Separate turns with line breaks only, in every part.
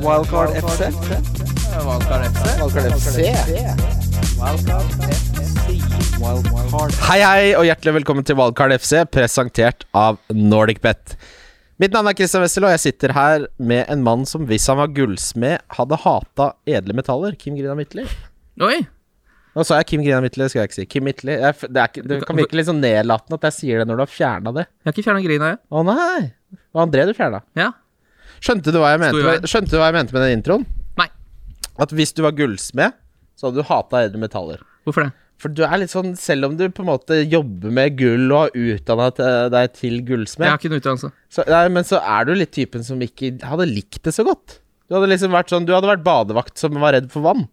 Wildcard FC.
Valgkar FC.
Wildcard FC. Wildcard.
Hei, hei, og hjertelig velkommen til Wildcard FC, presentert av NordicBet. Mitt navn er Christian Wessel, og jeg sitter her med en mann som hvis han var gullsmed, hadde hata edle metaller. Kim Grina Mittli.
Oi!
Nå sa jeg Kim Grina Mittli, det skal jeg ikke si. Kim Mittli. Jeg, f- det, er ikke, det kan virke litt sånn nedlatende at jeg sier det når du har fjerna det.
Jeg har ikke fjerna grina, jeg.
Å nei! Det var André du fjerna.
Ja.
Skjønte du, hva jeg mente
Sto i
med,
veien.
skjønte du hva jeg mente med den introen?
Nei.
At hvis du var gullsmed, så hadde du hata edle metaller.
Hvorfor det?
For du er litt sånn, selv om du på en måte jobber med gull og har utdanna deg til gullsmed,
Jeg har ikke noen utdannelse.
så, nei, men så er du litt typen som ikke hadde likt det så godt. Du hadde liksom vært sånn, du hadde vært badevakt som var redd for vann.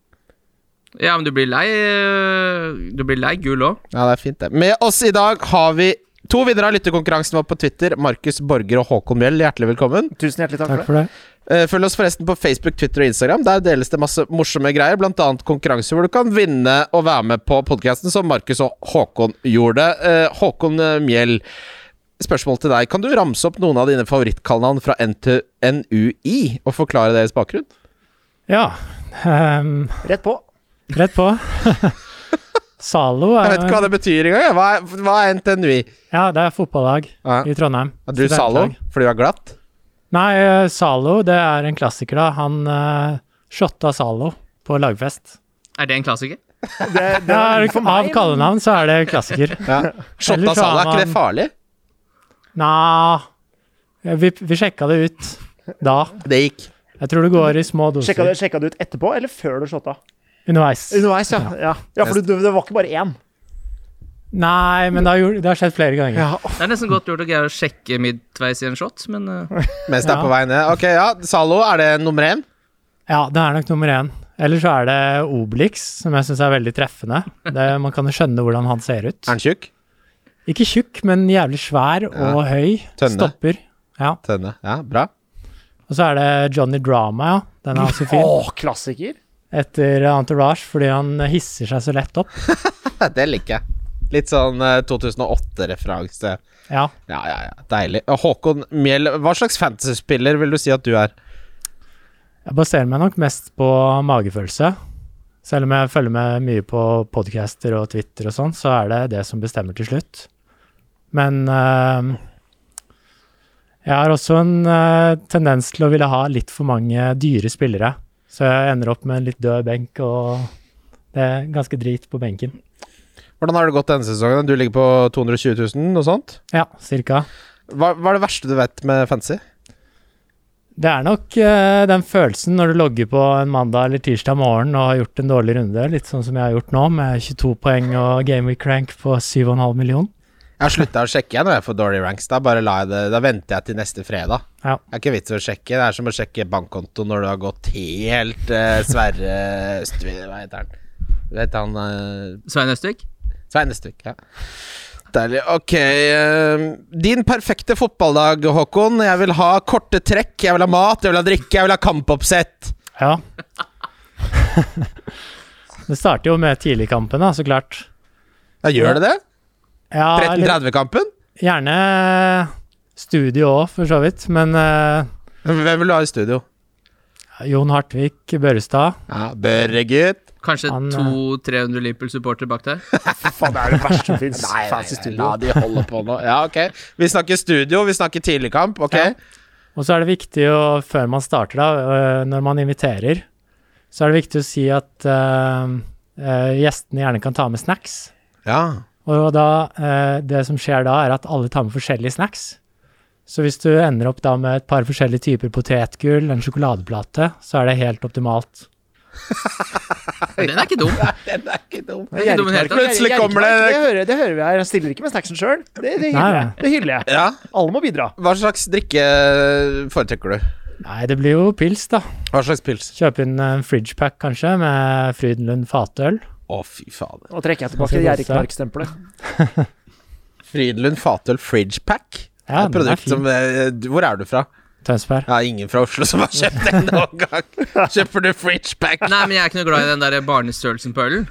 Ja, men du blir lei øh, Du blir lei gull òg.
Ja, det er fint, det. Med oss i dag har vi to vinnere av lyttekonkurransen vår på Twitter. Markus Borger og Håkon Mjell, hjertelig velkommen.
Tusen hjertelig takk, for det.
Eh, Følg oss forresten på Facebook, Twitter og Instagram. Der deles det masse morsomme greier, bl.a. konkurranser hvor du kan vinne og være med på podkasten, som Markus og Håkon gjorde. Eh, Håkon eh, Mjell, spørsmål til deg. Kan du ramse opp noen av dine favorittkallenavn fra NTU NUI og forklare deres bakgrunn?
Ja. ehm,
Rett på.
rett på. Zalo
Jeg vet ikke hva
er
det betyr engang. jeg. Hva er, hva er NTNUI?
Ja, det er fotballag
Ja.
i Trondheim.
Er du Zalo
Studentlag.
fordi du er glatt?
Nei, eh, Zalo det er en klassiker, da. Han uh, shotta Zalo på lagfest.
Er det en klassiker?
Det, det
Ja,
er for
av
meg.
kallenavn så er det klassiker.
Ja. Shotta
Ellers så
Sala,
har
er ikke det
man-
farlig?
Nja vi, vi sjekka det ut da.
Det gikk.
Jeg tror det går i små
Sjekka
doser
du, sjekka du ut etterpå eller før du shotta?
underveis.
Underveis, ja. Ja, ja for du, det var ikke bare én.
Nei, men det har, gjort, det har skjedd flere ganger.
Det er nesten godt gjort å greie å sjekke midtveis i en shot, men øh,
Mens det er
Ja.
på vei ned. Ok, ja. Zalo, er det nummer én?
Ja, det er nok nummer én. Eller så er det Obelix, som jeg syns er veldig treffende. Det, man kan jo skjønne hvordan han ser ut.
Er den tjukk?
Ikke tjukk, men jævlig svær og høy.
Tønne.
Stopper. Ja.
Tønne. Ja, bra.
Og så er det Johnny Drama, ja. Den er også fin.
Åh, klassiker.
Etter Entourage, fordi han hisser seg så lett opp.
Det liker jeg. Litt sånn 2008-referanse.
Ja.
Ja, ja, ja. Deilig. Og Håkon Mjell, hva slags fantasyspiller vil du si at du er?
Jeg baserer meg nok mest på magefølelse. Selv om jeg følger med mye på podcaster og Twitter og sånn, så er det det som bestemmer til slutt. Men eh, jeg har også en eh, tendens til å ville ha litt for mange dyre spillere. Så jeg ender opp med en litt død benk, og det er ganske drit på benken.
Hvordan har det gått denne sesongen? Du ligger på 220 000, noe sånt?
Ja, cirka.
Hva, hva er det verste du vet med fantasy?
Det er nok eh, den følelsen når du logger på en mandag eller tirsdag morgen og har gjort en dårlig runde, litt sånn som jeg har gjort nå, med 22 poeng og game week rank på 7,5 million.
Jeg har slutta å sjekke jeg når jeg får dårlige ranks. Da bare lar jeg det, da venter jeg til neste fredag.
Ja.
Det er ikke vits i å sjekke. Det er som å sjekke bankkonto når du har gått helt eh, Sverre Østvi... Hva heter han? Du vet han eh,
Svein Østvik?
Sveinestykk, ja. Deilig. Ok. eh, Din perfekte fotballdag, Håkon. Jeg vil ha korte trekk, jeg vil ha mat, jeg vil ha drikke, jeg vil ha kampoppsett.
Ja. det starter jo med tidligkampen, da, så klart.
Ja, gjør det det?
Ja, eller
1330-kampen?
gjerne studio òg, for så vidt. Men eh,
Hvem vil du ha i studio?
Jon Hartvig Børrestad
Ja, Børre, gutt.
Kanskje
Han, øh,
200-300 Liverpool-supportere bak der?
Faen, det er det verste som fins.
Nei, nei,
Fancy
nei,
studio.
la de holde på nå. Ja, ok. Vi snakker studio, vi snakker tidligkamp. Ok.
Ja. Og så er det viktig å, før man starter, da, øh, når man inviterer, så er det viktig å si at øh, øh, gjestene gjerne kan ta med snacks.
Ja.
Og da, øh, det som skjer da, er at alle tar med forskjellige snacks. Så hvis du ender opp da med et par forskjellige typer potetgull, en sjokoladeplate, så er det helt optimalt.
Den er ikke dum.
Den er ikke dum.
Det er
ikke dum i det hele tatt.
Plutselig kommer
Gjerrikmark,
det-
Det hører, det hører vi her. Jeg stiller ikke med snacksen sjøl. Det, det, hyller
Nei,
jeg. det hyller jeg.
Ja.
Alle må bidra.
Hva slags drikke eh, foretrekker du?
Nei, det blir jo pils, da.
Hva slags pils?
Kjøpe inn en fridgepack, kanskje, med Frydenlund fatøl.
Å, fy fader.
Nå trekker jeg
Skal
tilbake
vi gå
Gjerrikmark-stempelet.
Frydenlund Fatøl Fridge Pack.
Ja,
Et
den er
produkt
fin.
som eh, du- Hvor er du fra?
Tønsberg.
Ja, ingen fra Oslo som har kjøpt den noen gang. Kjøper du Fridge Pack?
Nei, men jeg er ikke noe glad i den der barnestørrelsen på ølen.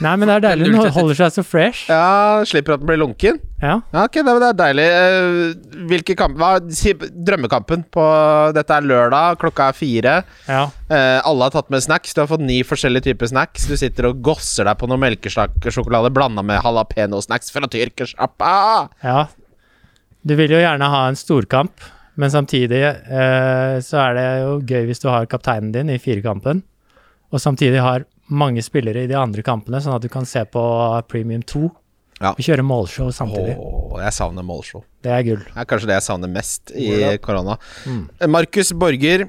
Nei, men det er deilig. Den holder seg så fresh.
Ja, slipper at den blir lunken.
Ja.
Ja, ok, det, det er deilig. Eh, Hvilke kamp, hva, si, drømmekampen på Dette er lørdag, klokka er fire.
ja.
Eh, alle har tatt med snacks. Du har fått ni forskjellige typer snacks. Du sitter og gosser deg på noe melkesjokolade blanda med jalapeño-snacks fra tyrkersjappa.
Ja. Du vil jo gjerne ha en storkamp, men samtidig eh, så er det jo gøy hvis du har kapteinen din i firekampen, og samtidig har mange spillere i de andre kampene, sånn at du kan se på Premium 2
Ja.
og kjøre målshow samtidig.
Åh, jeg savner målshow.
Det er gull.
Det er kanskje det jeg savner mest i korona. Markus Borger,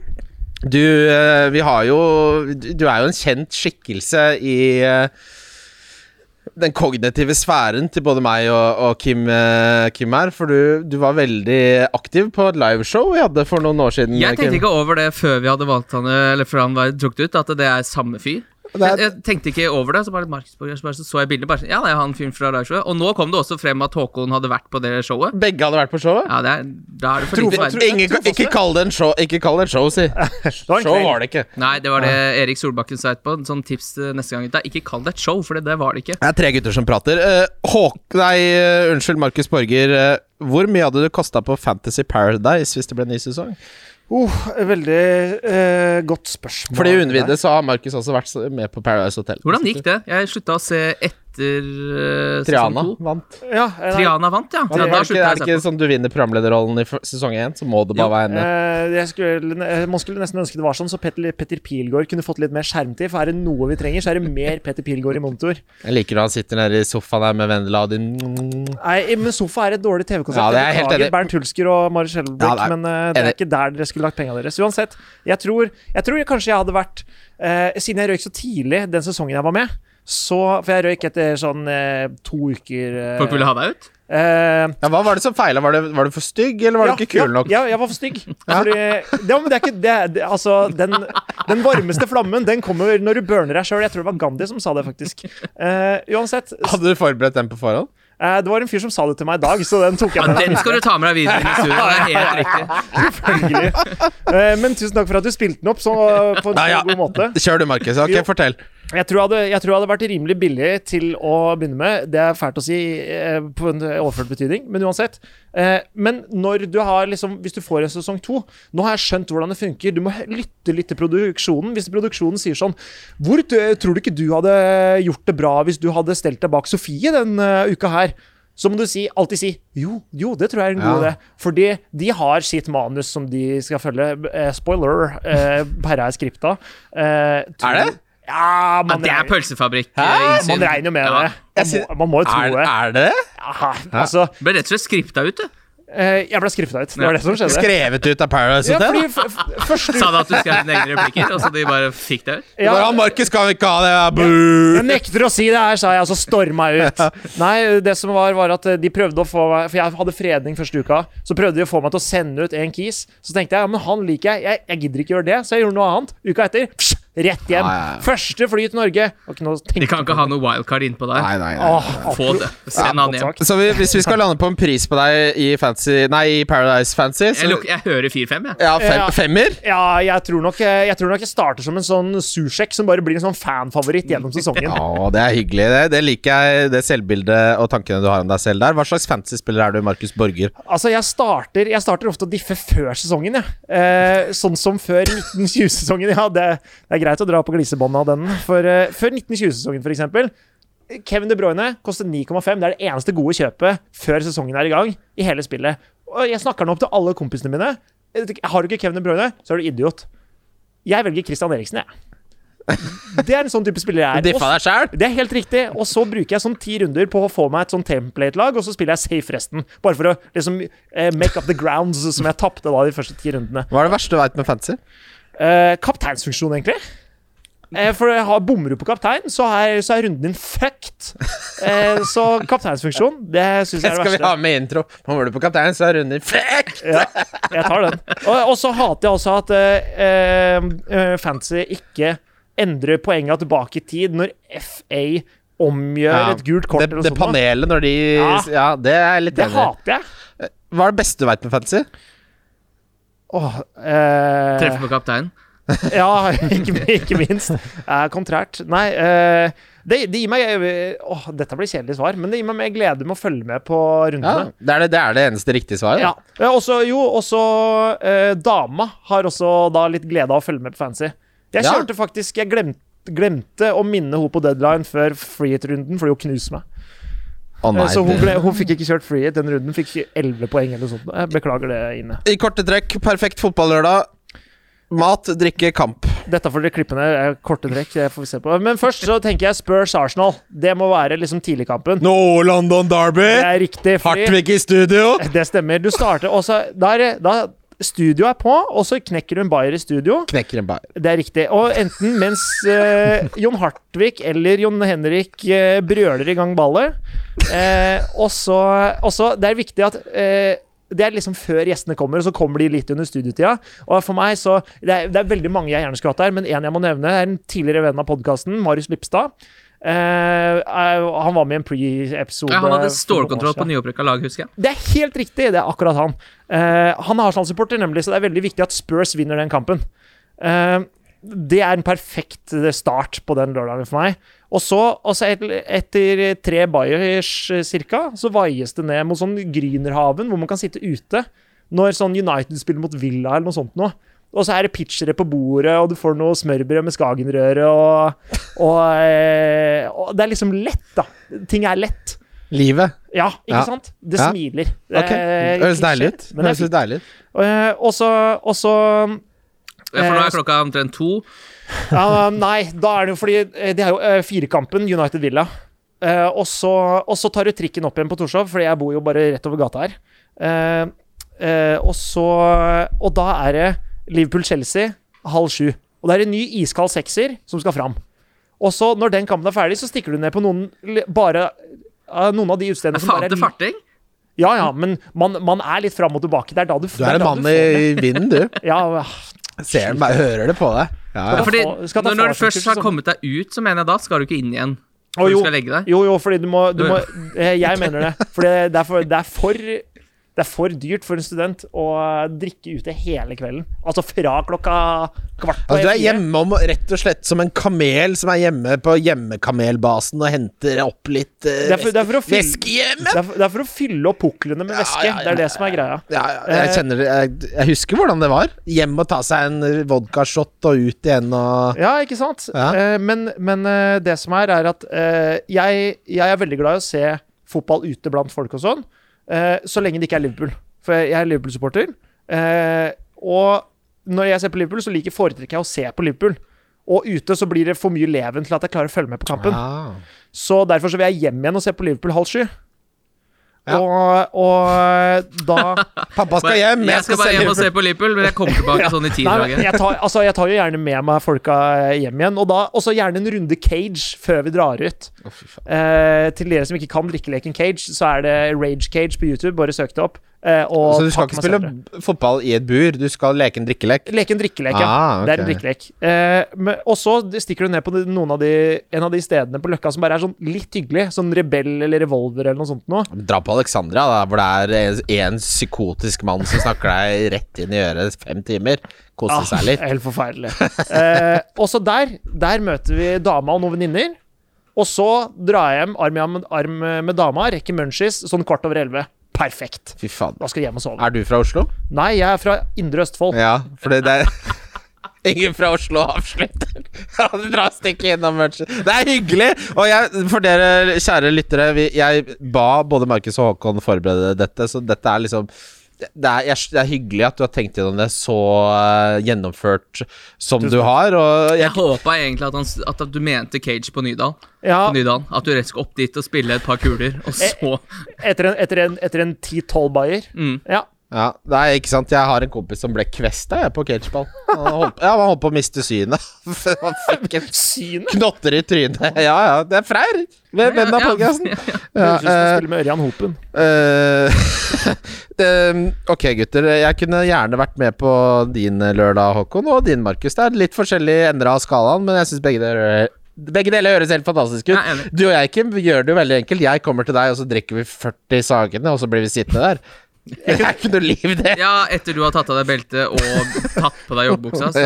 du, eh, vi har jo, du er jo en kjent skikkelse i eh, den kognitive sfæren til både meg og, og Kim, eh, Kim her. For du, du var veldig aktiv på et liveshow vi hadde for noen år siden. eh,
Jeg tenkte
Kim.
ikke over det før vi hadde valgt han øh, Eller før han var trukket ut, at det er samme fyr.
Det
Jeg,
er-
jeg tenkte ikke over det, så bare Marksborg, så, bare, så, så jeg bildet. Bare, sånn, ja, det er han fyren fra liveshowet. Og nå kom det også frem at Håkon hadde vært på det showet.
Begge hadde vært på showet?
Ja, det er, da er det for lite
Ingen-
verden.
ingen- ikke kall det en show, ikke kall det en show, si.
var en
Show
kveld.
var det ikke.
Nei, det var det Erik Solbakken sa etterpå. En Sånn tips eh, neste gang. gutta. ikke kall det et show, for det, det var det ikke.
Det er tre gutter som prater. Eh, Håk, nei, eh, unnskyld, Markus Borger. eh, hvor mye hadde det kosta på Fantasy Paradise hvis det ble en ny sesong?
Oh, veldig eh, godt spørsmål.
Fordi unnvidet så har Markus også vært så- med på Paradise Hotel.
Hvordan gikk det? Jeg slutta å se etter eh,
Triana
sesong to.
vant.
Ja, eh, nei,
Triana vant, ja.
Er
ja
det,
da
ikke, er
slutta jeg
det
å se
ikke
på.
sånn du vinner programlederrollen i f- sesong én, så må det bare
Jo.
være henne?
eh, jeg skulle, eh, man skulle nesten ønske det var sånn, så Petter, Petter Pilgaard kunne fått litt mer skjermtid. For er det noe vi trenger, så er det mer Petter Pilgaard i monitor.
Jeg liker når han sitter nede i sofaen der med Vendela og din
Nei, men sofa er et dårlig TV-konsept.
Ja, det er jeg
jeg
helt
beklager
enig.
Bernt Hulsker og Mari Schjelbæk,
Ja, det er-
men eh, det
enig.
er ikke der dere skulle lagt penga deres. Uansett, jeg tror, jeg tror jeg kanskje jeg hadde vært eh, Siden jeg røyk så tidlig den sesongen jeg var med, så For jeg røyk etter sånn eh, to uker eh,
Folk ville ha deg ut?
eh,
Ja, Hva var det som feila? Var, det- var du for stygg, eller var du ikke kul nok?
Ja, jeg var for stygg. Fordi, det, men det er ikke det, det Altså, den, den varmeste flammen, den kommer når du burner deg sjøl. Jeg tror det var Gandhi som sa det, faktisk. Eh, uansett,
Hadde du forberedt den på forhånd?
eh, det var en fyr som sa det til meg i dag, så den tok jeg
Ja,
med. meg.
den skal du ta med deg videre i studio. Det er helt riktig.
Hyggelig. Eh, Men tusen takk for at du spilte den opp så, på en
Ja, ja.
så god måte.
Kjør du, Markus. Ok,
Jo.
fortell.
Jeg tror jeg, hadde, jeg tror jeg hadde vært rimelig billig til å begynne med. Det er fælt å si eh, på en overført betydning, men uansett. Eh, Men når du har liksom, hvis du får en sesong to Nå har jeg skjønt hvordan det funker. Du må he- lytte litt til produksjonen. Hvis produksjonen sier sånn Hvor t- tror du ikke du hadde gjort det bra hvis du hadde stelt deg bak Sofie den eh, uka her? Så må du si, alltid si jo, jo, det tror jeg er en god
Ja.
idé. Fordi de har sitt manus som de skal følge. Eh, spoiler, eh, Perra er skripta. Eh,
Er det?
ja,
Ja,
man,
det er
regner,
pølsefabrikk. eh,
Hæ?
innsyn.
man regner jo med
Ja.
det. Man
Jeg
må, man må jo tro
Er,
det.
er det det?
Ja, altså,
Ble rett og slett skripta ut, du.
eh, jeg ble skrifta ut. Det var det som skjedde.
Skrevet ut av Paradise
Ja,
Hotel?
fordi f f første
Sa du at du skrev dine egne replikker, og så de bare fikk deg ut?
ja,
Bare, «Ah, Markus kan vi ikke ha det! ja, Boo!
Jeg nekter å si det her, sa jeg, og så storma jeg ut. Nei, det som var, var at eh, de prøvde å få meg For jeg hadde fredning første uka. Så prøvde de å få meg til å sende ut en kis. Så tenkte jeg ja, men han liker jeg. jeg. Jeg gidder ikke gjøre det, så jeg gjorde noe annet. Uka etter, psh, rett hjem.
Ja, ja, ja.
Første fly til Norge. Og ikke noe å
De
tenke
kan ikke ha noe wildcard innpå deg.
Nei, nei, nei.
Åh,
Få det. Send han hjem.
godt sagt.
Så vi, hvis vi skal lande på en pris på deg i fancy Nei, i Paradise Fancy
Jeg,
så,
luk- jeg hører 4-5, jeg.
Ja, fem,
Ja.
femmer?
Ja, jeg tror, nok, eh, jeg tror nok jeg starter som en sånn sursjekk som bare blir en sånn fanfavoritt gjennom sesongen.
Ja, det er hyggelig. Det, det liker jeg, det selvbildet og tankene du har om deg selv der. Hva slags fantasy-spiller er du, Markus Borger?
Altså, jeg starter, jeg starter ofte å diffe før sesongen, jeg. Eh, sånn som før 1920-sesongen. Ja, det, det er greit å dra på glisebåndet av den. For eh, før 1920-sesongen, for eksempel. Kevin De Bruyne koster 9,5. Det er det eneste gode kjøpet før sesongen er i gang i hele spillet. Og jeg snakker nå opp til alle kompisene mine. Eh, Har du ikke Kevin De Bruyne, så er du idiot. Jeg velger Christian Eriksen, jeg. Det er en sånn type spiller jeg er. Og
Diffa deg sjæl?
det er helt riktig. Og så bruker jeg sånn ti runder på å få meg et sånn template-lag, og så spiller jeg safe resten. Bare for å liksom eh, make up the grounds som jeg tapte da de første ti rundene.
Hva er det verste du veit med fantasy?
Eh, kapteinsfunksjon, egentlig. Eh, for jeg har bommer du på kaptein, så er, så er runden din fucked. Eh, så kapteinsfunksjon, det syns jeg
Det
er det
skal vi ha
verste.
med i intro. Kommer du på kapteinen, så er runden Fuck!
Jeg tar den. Og, og så hater jeg også at eh, eh, fantasy ikke endrer poenga tilbake i tid når FA omgjør
Ja,
et gult kort
Det,
eller noe
det
sånt. da.
panelet når de Ja,
Ja.
det er jeg litt
Det
enig i.
hater jeg.
Hva er det beste du veit med fantasy?
Åh, eh,
Treffer på kapteinen.
Ja, ikke, ikke minst. Eh, kontrært. Nei, eh, Det, det gir meg Åh, dette blir kjedelig svar, men det gir meg mer glede med å følge med på
Ja,
rundene.
det, er det, det er det eneste riktige svaret.
Ja. Eh, Også, jo, også eh, dama har også da litt glede av å følge med på fancy. Jeg
Ja.
kjørte faktisk Jeg glemte, glemte å minne hun på deadline før freehit-runden, fordi hun knuste meg.
Å nei,
Eh, så hun,
det-
ble, hun fikk ikke kjørt freehit. Den runden fikk 11 poeng eller noe sånt. Jeg beklager det, Ine.
I korte trekk, perfekt fotballørdag. Mat, drikke, kamp.
Dette får dere klippe ned. eh, Korte trekk. Det får vi se på. Men først så tenker jeg Spurs Arsenal. Det må være liksom tidligkampen.
No London Derby!
Det er riktig. fordi-
i studio!
Det stemmer. Du starter også der, da Studio er på, og så knekker du en bayer i studio.
Knekker en bar.
Det er riktig. Og enten mens eh, Jon Hartvig eller Jon Henrik eh, brøler i gang ballet eh, Og så og så- Det er viktig at eh, det er liksom før gjestene kommer, og så kommer de litt under studietida. Og for meg så, Det er, det er veldig mange jeg gjerne skulle hatt der, men en jeg må nevne, er en tidligere venn av podkasten, Marius Lipstad. Eh, eh, han var med i en pre-episode.
Ja, han hadde
for noen år
stålkontroll
siden.
på nyopprykka lag, husker jeg.
Det er helt riktig, det er akkurat han. Eh, han er Arsenal-supporter, nemlig, så det er veldig viktig at Spurs vinner den kampen. Eh, det er en perfekt eh, start på den lørdagen for meg. Og så, og så et, etter tre bayers eh, cirka, så vaies det ned mot sånn Grünerhaven, hvor man kan sitte ute. Når sånn United spiller mot Villa eller noe sånt noe. Og så er det pitchere på bordet, og du får noe smørbrød med Skagenrøre, og, og, eh, og Det er liksom lett, da. Ting er lett.
Livet.
Ja, ikke
Ja.
sant? Det
Ja.
smiler.
Ok. Det
Eh,
høres
klisjé,
deilig ut.
Men
Det
det
høres
er
litt deilig ut.
fint. Og så og så-
Ja, For nå
Eh,
er klokka omtrent to.
ja, Nei, da er det jo fordi eh, Det er jo eh, firekampen United Villa. Eh, og, så, og så tar du trikken opp igjen på Torshov, Fordi jeg bor jo bare rett over gata her. Eh, eh, og så Og da er det Liverpool-Chelsea halv sju. Og det er en ny iskald sekser som skal fram. Og så, når den kampen er ferdig, så stikker du ned på noen li- Bare eh, noen av de utestedene
Det er
som bare
fate
er
farting.
Ja, ja, men man, man er litt fram og tilbake. Det er da du
Du er en mann i vinden, du.
Ja,
Ser meg, hører det på deg. Ja, ja.
ta
Fordi
fa- skal ta
når, når du
fartsskyts
først har
som-
kommet deg ut, så mener jeg da skal du ikke inn igjen.
Å,
Når
jo.
du skal legge deg.
Jo, jo, fordi du må, du må eh, Jeg mener det. Fordi det er, for, det, er for, det er for dyrt for en student å drikke ute hele kvelden. Altså fra klokka kvart på
Altså, du er
fire.
hjemme om rett og slett som en kamel som er hjemme på hjemmekamelbasen og henter opp litt eh,
Det er for- det er for å fylle-
væske hjemme.
Det er, for, det er for å fylle opp puklene med
Ja,
væske.
ja, ja,
det er
ja,
det som er greia.
Ja, ja, jeg kjenner det. Jeg, jeg husker hvordan det var. Hjem og ta seg en vodkashot og ut igjen og
Ja, ikke sant?
Ja.
Eh, men men eh, det som er, er at eh, jeg, jeg er veldig glad i å se fotball ute blant folk og sånn, eh, så lenge det ikke er Liverpool. For jeg er Liverpool-supporter. Eh, og når jeg ser på Liverpool, så liker foretrekker jeg å se på Liverpool. Og ute så blir det for mye leven til at jeg klarer å følge med på kampen.
Ah.
Så derfor så vil jeg hjem igjen og se på Liverpool halv sju.
Ja.
Og, og da
Pappa skal hjem, jeg skal
bare
selge
hjem og se på Liverpool, men jeg kommer tilbake sånn i
Nei, men
tidraget.
jeg, tar, altså, jeg tar jo gjerne med meg folka eh, hjem igjen. Og da også gjerne en runde cage før vi drar ut. Eh, til dere som ikke kan drikkeleken cage, så er det Rage Cage på YouTube. Bare søk det opp. Eh, og
Så du skal
takk
ikke
meg
spille
senere.
fotball i et bur, du skal leke en drikkelek?
Leke en drikkelek, ja.
Ah,
Det er en
ok.
drikkelek. Eh, men- og så stikker du ned på noen av de, en av de stedene på Løkka som bare er sånn litt hyggelig. Sånn Rebell eller Revolver eller noe sånt noe.
Dra på Alexandria, da, hvor det er en psykotisk mann som snakker deg rett inn i øret fem timer. Kose
Ah,
seg litt.
Helt forferdelig. Eh, og så der, der møter vi dama og noen venninner. Og så drar jeg hjem arm i arm, arm med dama, rekker munchies sånn kvart over elleve. Perfekt.
Fy faen.
Da skal jeg hjem og sove.
Er du fra Oslo?
Nei, jeg er fra Indre Østfold.
Ja, for det er Ingen fra Oslo avslutter. Ja, du drar stikket innom merchen. Det er hyggelig! Og jeg, for dere kjære lyttere, vi, jeg ba både Markus og Håkon forberede dette, så dette er liksom det er, jeg, det er hyggelig at du har tenkt gjennom det så eh, gjennomført som du har. Og jeg,
Jeg håpa egentlig at, han, s- at du mente Cage på Nydal.
Ja, Eh.
På Nydalen. At du rett skal opp dit og spille et par kuler, og så
etter en, etter en, etter en 10-12 bayer. Ja.
ja, nei, ikke sant? jeg har en kompis som ble kvesta jeg, på cageball. Han holdt, ja, han holdt på å miste synet. Han fikk en
Synet!
knotter i trynet. Ja, ja, det er Freyr! Venn av
Ja, ja.
podkasten.
Høres ut som å spille med Ørjan Hopen.
Eh, det, ok, gutter. Jeg kunne gjerne vært med på din eh, lørdag, Håkon, og din, Markus. Det er litt forskjellig endra av skalaen, men jeg syns begge deler begge deler høres helt fantastisk ut.
Jeg er enig.
Du og jeg, Kim, gjør det jo veldig enkelt. Jeg kommer til deg, og så drikker vi 40 sagene, og så blir vi sittende der. Det er ikke noe liv, det.
Ja, etter du har tatt av deg beltet og tatt på deg joggebuksa, så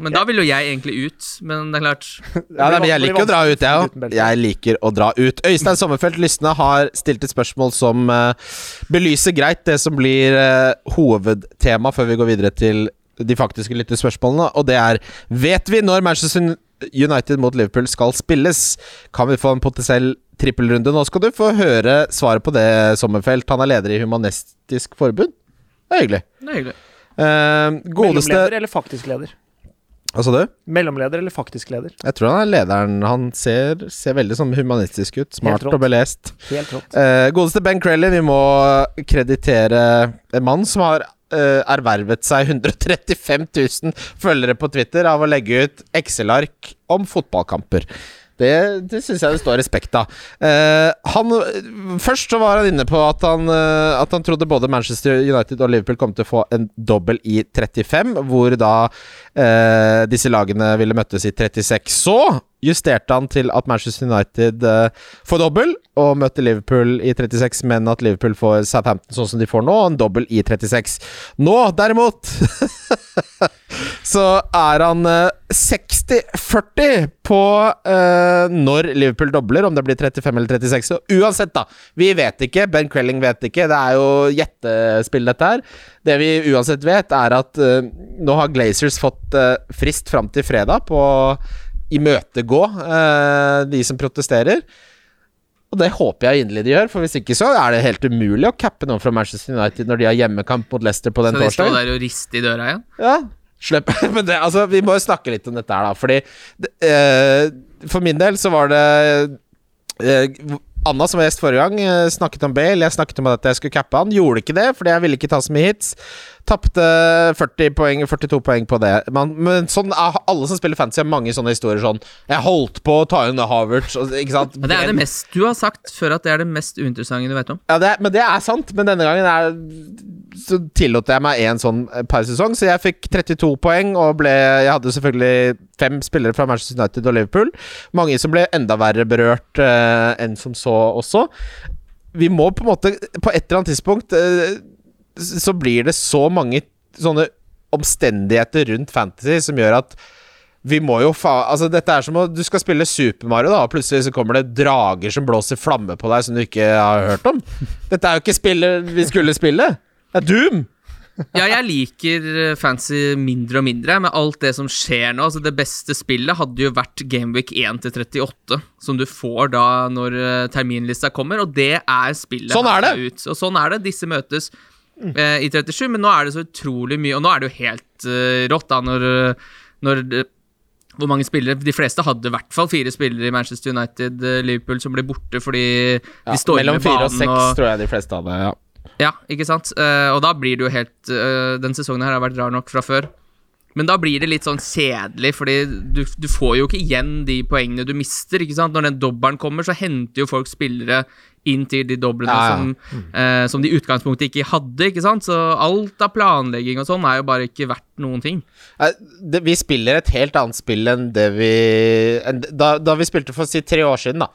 Men da vil jo jeg egentlig ut, men det er klart.
Ja, nei, men jeg
blir
liker å dra ut, jeg
vanskelig uten
òg.
belte.
Jeg liker å dra ut. Øystein Sommerfelt Lysne har stilt et spørsmål som eh, belyser greit det som blir eh, hovedtema før vi går videre til de faktiske lyttespørsmålene, og det er Vet vi når Manchester United mot Liverpool skal spilles? Kan vi få en potensiell trippelrunde? Nå skal du få høre svaret på det, Sommerfelt. Han er leder i Humanistisk Forbund. Det er hyggelig.
Det er hyggelig.
Eh, godeste
Mellomleder eller faktisk leder?
Hva sa du?
Mellomleder eller faktisk leder?
Jeg tror han er lederen. Han ser, ser veldig sånn humanistisk ut. Smart
rått.
og belest.
Helt rått.
Eh, godeste Ben Crelly, vi må kreditere en mann som har eh, ervervet seg 135 000 følgere på Twitter av å legge ut Excel-ark om fotballkamper. Det, det syns jeg det står respekt av. Eh, han, først så var han inne på at han, eh, at han trodde både Manchester United og Liverpool kom til å få en dobbel i 35, hvor da eh, disse lagene ville møttes i 36. Så justerte han til at Manchester United eh, får dobbel og møter Liverpool i 36, men at Liverpool får Southampton sånn som de får nå, og en dobbel i 36. Nå, derimot, så er han eh, 60-40 på eh, når Liverpool dobler, om det blir 35 eller 36. Og uansett, da. Vi vet ikke. Ben Crelling vet ikke. Det er jo gjettespill, dette her. Det vi uansett vet, er at eh, nå har Glazers fått eh, frist fram til fredag på å imøtegå eh, de som protesterer. Og det håper jeg inderlig de gjør, for hvis ikke så er det helt umulig å cappe noen fra Manchester United når de har hjemmekamp mot Leicester på den
Så de står
torsdagen.
der og rister i døra igjen.
Ja, slipp. Men det, altså, vi må jo snakke litt om dette her, da. Fordi det, eh, For min del så var det eh, Anna som var gjest forrige gang, eh, snakket om Bale. Jeg snakket om at jeg skulle cappe han. Gjorde ikke det, fordi jeg ville ikke ta så mye hits. Tapte 40 poeng, 42 poeng på det. Man, men sånn, er- alle som spiller fantasy, har mange sånne historier sånn Jeg holdt på å ta inn Havertz, og- ikke sant?
Ja, det er det mest Du har sagt før at det er det mest uinteressante du vet om.
Ja, det, er- men det er sant. Men denne gangen er, så tillot jeg meg en sånn eh, per sesong, så jeg fikk 32 poeng og ble Jeg hadde selvfølgelig fem spillere fra Manchester United og Liverpool. Mange som ble enda verre berørt eh, enn som så også. Vi må på en måte På et eller annet tidspunkt eh, s- så blir det så mange sånne omstendigheter rundt fantasy som gjør at vi må jo fa... Altså, dette er som å Du skal spille Super Mario, da, og plutselig så kommer det drager som blåser flamme på deg som du ikke har hørt om. Dette er jo ikke spillet vi skulle spille. Det er Doom!
Ja, jeg liker eh, fancy mindre og mindre, med alt det som skjer nå. Altså, det beste spillet hadde jo vært Gameweek 1 til 38, som du får da når eh, terminlista kommer, og det er spillet.
Sånn er det.
herfra Ut. Og sånn er det. Disse møtes eh, i 37, men nå er det så utrolig mye, og nå er det jo helt eh, rått, da, når, eh, når det- hvor mange spillere De fleste hadde i hvert fall fire spillere i Manchester United, eh, Liverpool, som ble borte fordi
Ja,
de stormer
mellom fire og
banen
seks,
og-
tror jeg de fleste hadde. Ja.
ja, ikke sant? Eh, og da blir det jo helt eh, Den sesongen her har vært rar nok fra før. Men da blir det litt sånn kjedelig, fordi du, du får jo ikke igjen de poengene du mister. ikke sant? Når den dobbelen kommer, så henter jo folk spillere inn til de doblene
Ja, ja.
Som, eh, som de i utgangspunktet ikke hadde. ikke sant? Så alt av planlegging og sånn er jo bare ikke verdt noen ting.
Nei, det, vi spiller et helt annet spill enn det vi enn, da, da vi spilte for si tre år siden, da.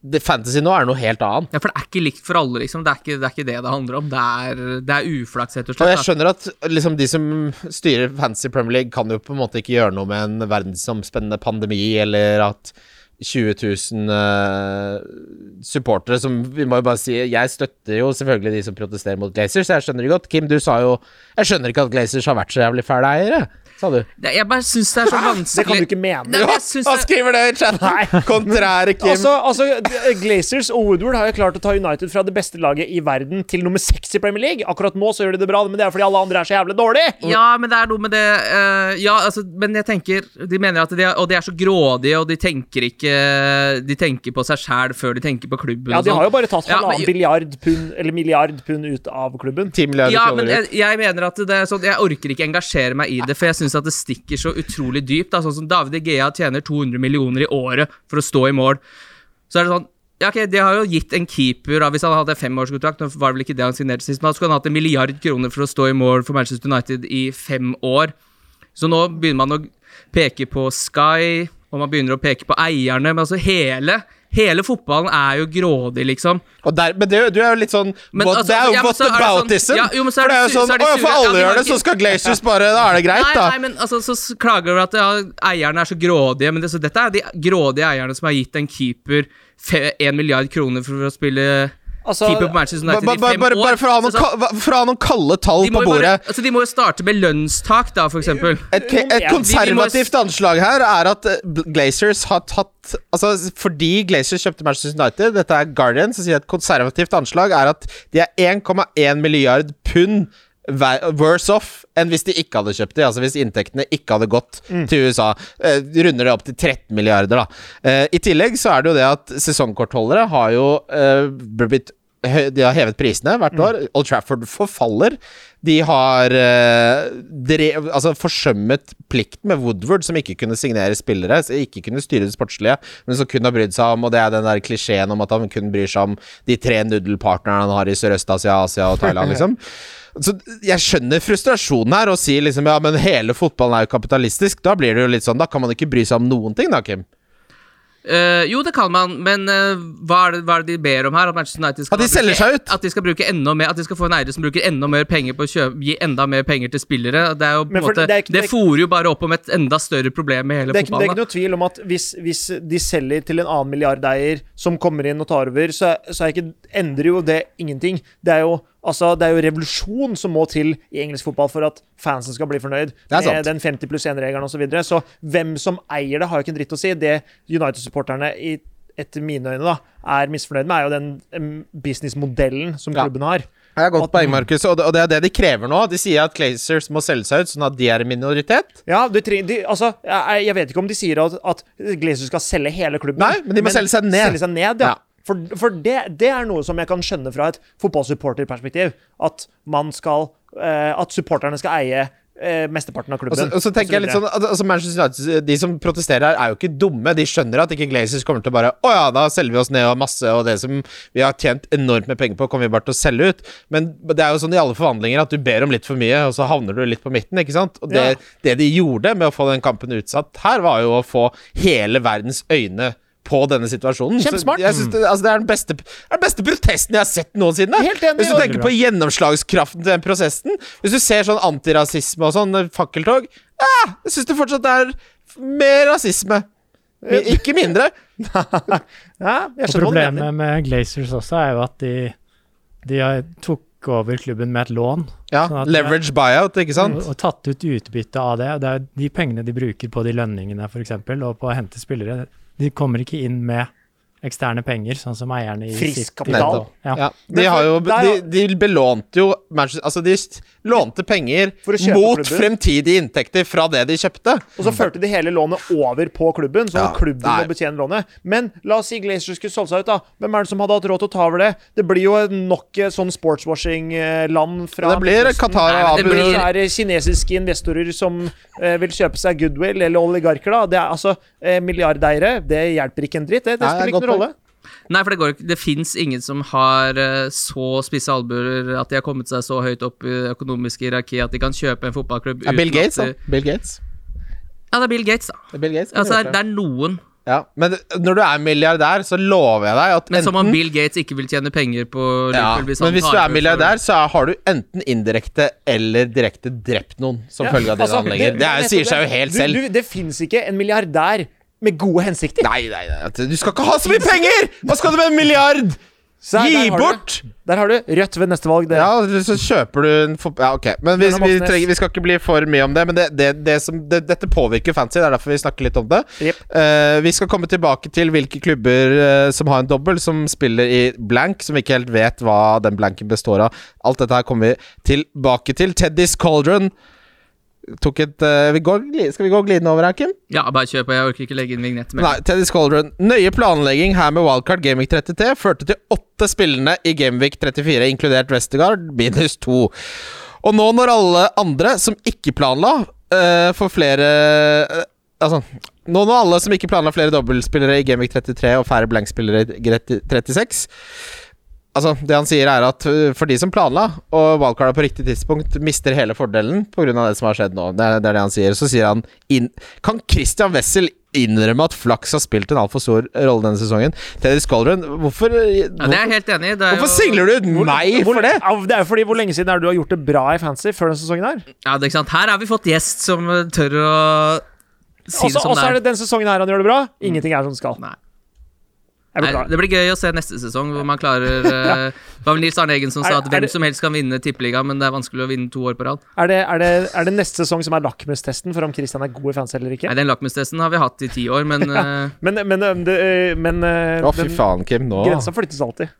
Det, fantasy nå er noe helt annet.
Ja, For det er ikke likt for alle, liksom. Det er ikke det er ikke det, det handler om. Det er, det er uflaks, rett og
Og
slett.
jeg
da.
skjønner at liksom, de som styrer fancy Premier League, kan jo på en måte ikke gjøre noe med en verdensomspennende pandemi, eller at 20 000 eh, supportere som Vi må jo bare si Jeg støtter jo selvfølgelig de som protesterer mot Glazers, jeg skjønner det godt. Kim, du sa jo Jeg skjønner ikke at Glazers har vært så jævlig fæle eiere, sa du.
Det- Jeg bare syns det er så
Det kan du
vanskelig
ikke mene.
Nei, men jeg synes
Han
det,
skriver det i chatten! Kontrære Kim.
Altså, altså, Glazers og Woodward har jo klart å ta United fra det beste laget i verden til nummer seks i Premier League. Akkurat nå så gjør de det bra, men det er fordi alle andre er så jævlig dårlige.
Ja, men det er noe med det eh, Ja, altså, men jeg tenker De mener at de er, Og de er så grådige, og de tenker ikke De tenker på seg sjæl før de tenker på klubben.
Ja,
og
de har
sånn.
jo bare tatt
Ja, men-
halvannen billiard pund, eller milliard pund ut av klubben.
10 milliarder
ja, men eh,
kroner
jeg,
ut.
jeg mener at det er sånn Jeg orker ikke engasjere meg i det, for jeg syns at det stikker så utrolig dypt. Da. Sånn som David Egea tjener 200 millioner i året for å stå i mål. Så er det sånn ja, ok, De har jo gitt en keeper da, Hvis han hadde hatt en femårskontrakt Nå var det vel ikke det han signerte sist, men da skulle han hatt en milliard kroner for å stå i mål for Manchester United i fem år. Så nå begynner man å peke på Sky, og man begynner å peke på eierne. Men altså hele, hele fotballen er jo grådig, liksom.
Og der, men det, er jo- du er jo litt sånn
Men
what,
altså,
Det er jo
ja, men så er det
whataboutism.
sånn- ja, jo, men så er
for det er jo
det su-
sånn
så er
Å
det
ja,
sure-
for
ja,
alle
vi har
gjør det,
ikke-
så skal Glacius bare Da er det greit,
Nei,
da.
nei, men altså, så s- klager du at ja, eierne er så grådige, men det, så dette er de grådige eierne som har gitt en keeper fe- en milliard kroner for å spille
Altså,
keeper på Manchester
Ba-
United
ba-
i
bare,
fem
bare,
år.
bare for å ha noen,
Så- så-
ka- hva- for å ha noen kalde tall
de
på
må jo
bordet
bare, altså, de må jo starte med lønnstak, da, for eksempel.
et, ke- et
vi
Ja, vi-
må-
konservativt anslag her er at eh, Bl- Glazers har tatt Altså, fordi Glazers kjøpte Manchester United, dette er Guardian, som sier et konservativt anslag er at de er 1,1 milliard pund ver- worse off enn hvis de ikke hadde kjøpt de, altså hvis inntektene ikke hadde gått
Mm.
til USA. Eh, runder det opp til 13 milliarder, da. Eh, I tillegg så er det jo det at sesongkortholdere har jo eh, blitt hø- de har hevet prisene hvert år. Old Trafford forfaller. De har eh, drev, altså forsømmet plikten med Woodward, som ikke kunne signere spillere, så ikke kunne styre det sportslige, men som kun har brydd seg om Og det er den der klisjeen om at han kun bryr seg om de tre nudelpartnerne han har i Sørøst-Asia, Asia og Thailand, liksom. Så jeg skjønner frustrasjonen her, og sier liksom ja, men hele fotballen er jo kapitalistisk. Da blir det jo litt sånn, da kan man ikke bry seg om noen ting, da, Kim.
Eh, jo, det kan man, men eh, hva, er det, hva er det de ber om her? At Manchester United skal
At de
bruke-
selger seg ut?
At de skal bruke enda mer At de skal få en eier som bruker enda mer penger på å kjøpe, gi enda mer penger til spillere. Det er jo på
Men
en
for
måte
det er
Det,
ikke- det er ikke-
fòrer jo bare opp om et enda større problem med hele
Det er, ikke, det er
fotballen.
ikke
da.
noe tvil om at hvis, hvis de selger til en annen milliardeier som kommer inn og tar over, så, så er ikke, endrer jo det ingenting. Det er jo, altså, det er jo revolusjon som må til i engelsk fotball for at fansen skal bli fornøyd
er sant.
med den 50 pluss 1-regelen osv. Så, videre. så hvem som eier det, har jo ikke en dritt å si. Det United-supporterne i etter mine øyne da, er misfornøyd med, er jo den em, businessmodellen som
Ja.
klubben har.
Det er godt
At-
poeng, Markus, og det, og det er det de krever nå. De sier at Glazers må selge seg ut, sånn at de er en minoritet.
Ja, du treng, de, altså, jeg, jeg vet ikke om de sier at, at Glazer skal selge hele klubben.
Nei, men de må selge seg ned.
Selge seg ned, ja.
Ja.
For, for det, det er noe som jeg kan skjønne fra et fotballsupporterperspektiv. At man skal eh, At supporterne skal eie eh, mesteparten av
Og så,
klubben.
og så tenker jeg litt sånn
videre.
al- altså Manchester United, De som protesterer her, er jo ikke dumme. De skjønner at ikke Glazers kommer til å bare Å ja, da selger vi oss ned og masse, og det som vi har tjent enormt med penger på, kommer vi bare til å selge ut. Men det er jo sånn i alle forvandlinger at du ber om litt for mye, og så havner du litt på midten, ikke sant? Og det,
Ja.
det de gjorde med å få den kampen utsatt her, var jo å få hele verdens øyne på denne situasjonen. Så
Kjempesmart.
Jeg synes det, altså det er den beste, er den beste protesten jeg har sett noensinne.
Helt enig,
Hvis du
og-
tenker på gjennomslagskraften til den prosessen Hvis du ser sånn antirasisme og sånn, eh, fakkeltog ah, Jeg syns det fortsatt er f- mer rasisme. I- Ikke mindre.
ja, jeg
Og
skjønner hva du mener.
problemet med Glazers også er jo at de, de har- tok over klubben med et lån.
Ja,
Sånn at det-
Leverage buyout, ikke sant?
Og tatt ut utbytte av det. og Det er de pengene de bruker på de lønningene f.eks., og på å hente spillere. De kommer ikke inn med eksterne penger, sånn som eierne i
Frisk
City
kapital.
og- Ja.
Ja, de,
Men for-
har jo,
der
de,
har-
de belånte jo Manchester Altså, de s- lånte penger
For å kjøpe
mot
klubben.
fremtidige inntekter fra det de kjøpte.
Og så førte de hele lånet over på klubben, så
Ja,
klubben
nei.
må betjene lånet. Men la oss si Glazer skulle solgt seg ut, da. Hvem er det som hadde hatt råd til å ta over det? Det blir jo nok et sånn sportswashing-land fra
Det blir
Midtøsten.
Qatar og
Nei, men
Abu
det blir-
Så er det kinesiske investorer som eh, vil kjøpe seg goodwill, eller oligarker, da. Det er altså eh, milliardeiere. Det hjelper ikke en dritt, det. Det
Nei,
spiller
godt
ikke noen rolle.
Nei, for det går ikke Det fins ingen som har eh, så spisse albuer at de har kommet seg så høyt opp i det økonomiske hierarki at de kan kjøpe en fotballklubb
Ja, Bill
uten at
Gates, da.
de-
Bill Gates.
Ja, det er Bill Gates, da.
Det er Bill Gates
Altså, det er, det er noen.
ja. Men når du er milliardær, så lover jeg deg at
Men som om
enten-
Bill Gates ikke vil tjene penger på
Ja,
Liverpool
men
han
hvis du
tar
er
over for-
milliardær, så er- har du enten indirekte eller direkte drept noen som
Ja,
følge av dine
altså,
handlinger. Det, er- sier seg jo helt
du,
selv.
Du, det fins ikke en milliardær med gode hensikter.
Nei, nei, nei, du skal ikke ha så mye penger! Hva skal du med en milliard?
Så der
Gi
har du det.
bort!
Der har du Rødt ved neste valg. Det.
Ja, så kjøper du en fot... Ja, ok. Men vi,
Bjørnar
vi,
Moxnes.
trenger, vi skal ikke bli for mye om det, men det, det, det som, det, dette påvirker fancy. Det er derfor vi snakker litt om det.
Jep.
Eh, vi skal komme tilbake til hvilke klubber eh, som har en dobbel, som spiller i blank, som vi ikke helt vet hva den blanken består av. Alt dette her kommer vi tilbake til. Teddy's Cauldron tok et eh, vi går, gli- Skal vi gå glidende over her, Kim?
Ja, bare kjør på. Jeg orker ikke legge inn vignett mer.
Nei, Teddy's Cauldron. Nøye planlegging her med wildcard Gameweek 33 førte til åtte spillende i Gameweek 34, inkludert Westergaard, minus to. Og nå når alle andre som ikke planla eh, for flere eh, Altså Nå når alle som ikke planla flere dobbeltspillere i Gameweek 33 og færre blankspillere i Gre- 36 Altså, det han sier er at øh, for de som planla, og wildcarda på riktig tidspunkt, mister hele fordelen pga. det som har skjedd nå. Det er det, er det han sier. Så sier han inn Kan Christian Wessel innrømme at flaks har spilt en altfor stor rolle denne sesongen. Teddy Skolren, hvorfor,
Ja, det er jeg helt enig i. Det er
hvorfor
jo-
singler du ut meg
Hvor-
for det?
Ja, det er jo fordi hvor lenge siden er det du har gjort det bra i Fantasy før denne sesongen her?
Ja, det er ikke sant. Her har vi fått gjest som eh, tør å si
Også,
det som
også
det
er
er.
det den sesongen her han gjør det bra. Ingenting er som det skal.
Nei.
Jeg
Nei,
beklager.
det blir gøy å se neste sesong, hvor man klarer eh, Det var vel Nils Arne Eggen som
Er-
sa at
er
hvem
det-
som helst kan vinne tippeligaen, men det er vanskelig å vinne to år på rad.
Er det, er, det, er det neste sesong som er lakmustesten for om Christian er god i Fantasy eller ikke?
Nei, Den lakmustesten har vi hatt i ti år, men eh,
Men, men, eh, det, eh, men eh,
Å, fy
den
faen, Kim. Nå
grensa flyttes alltid.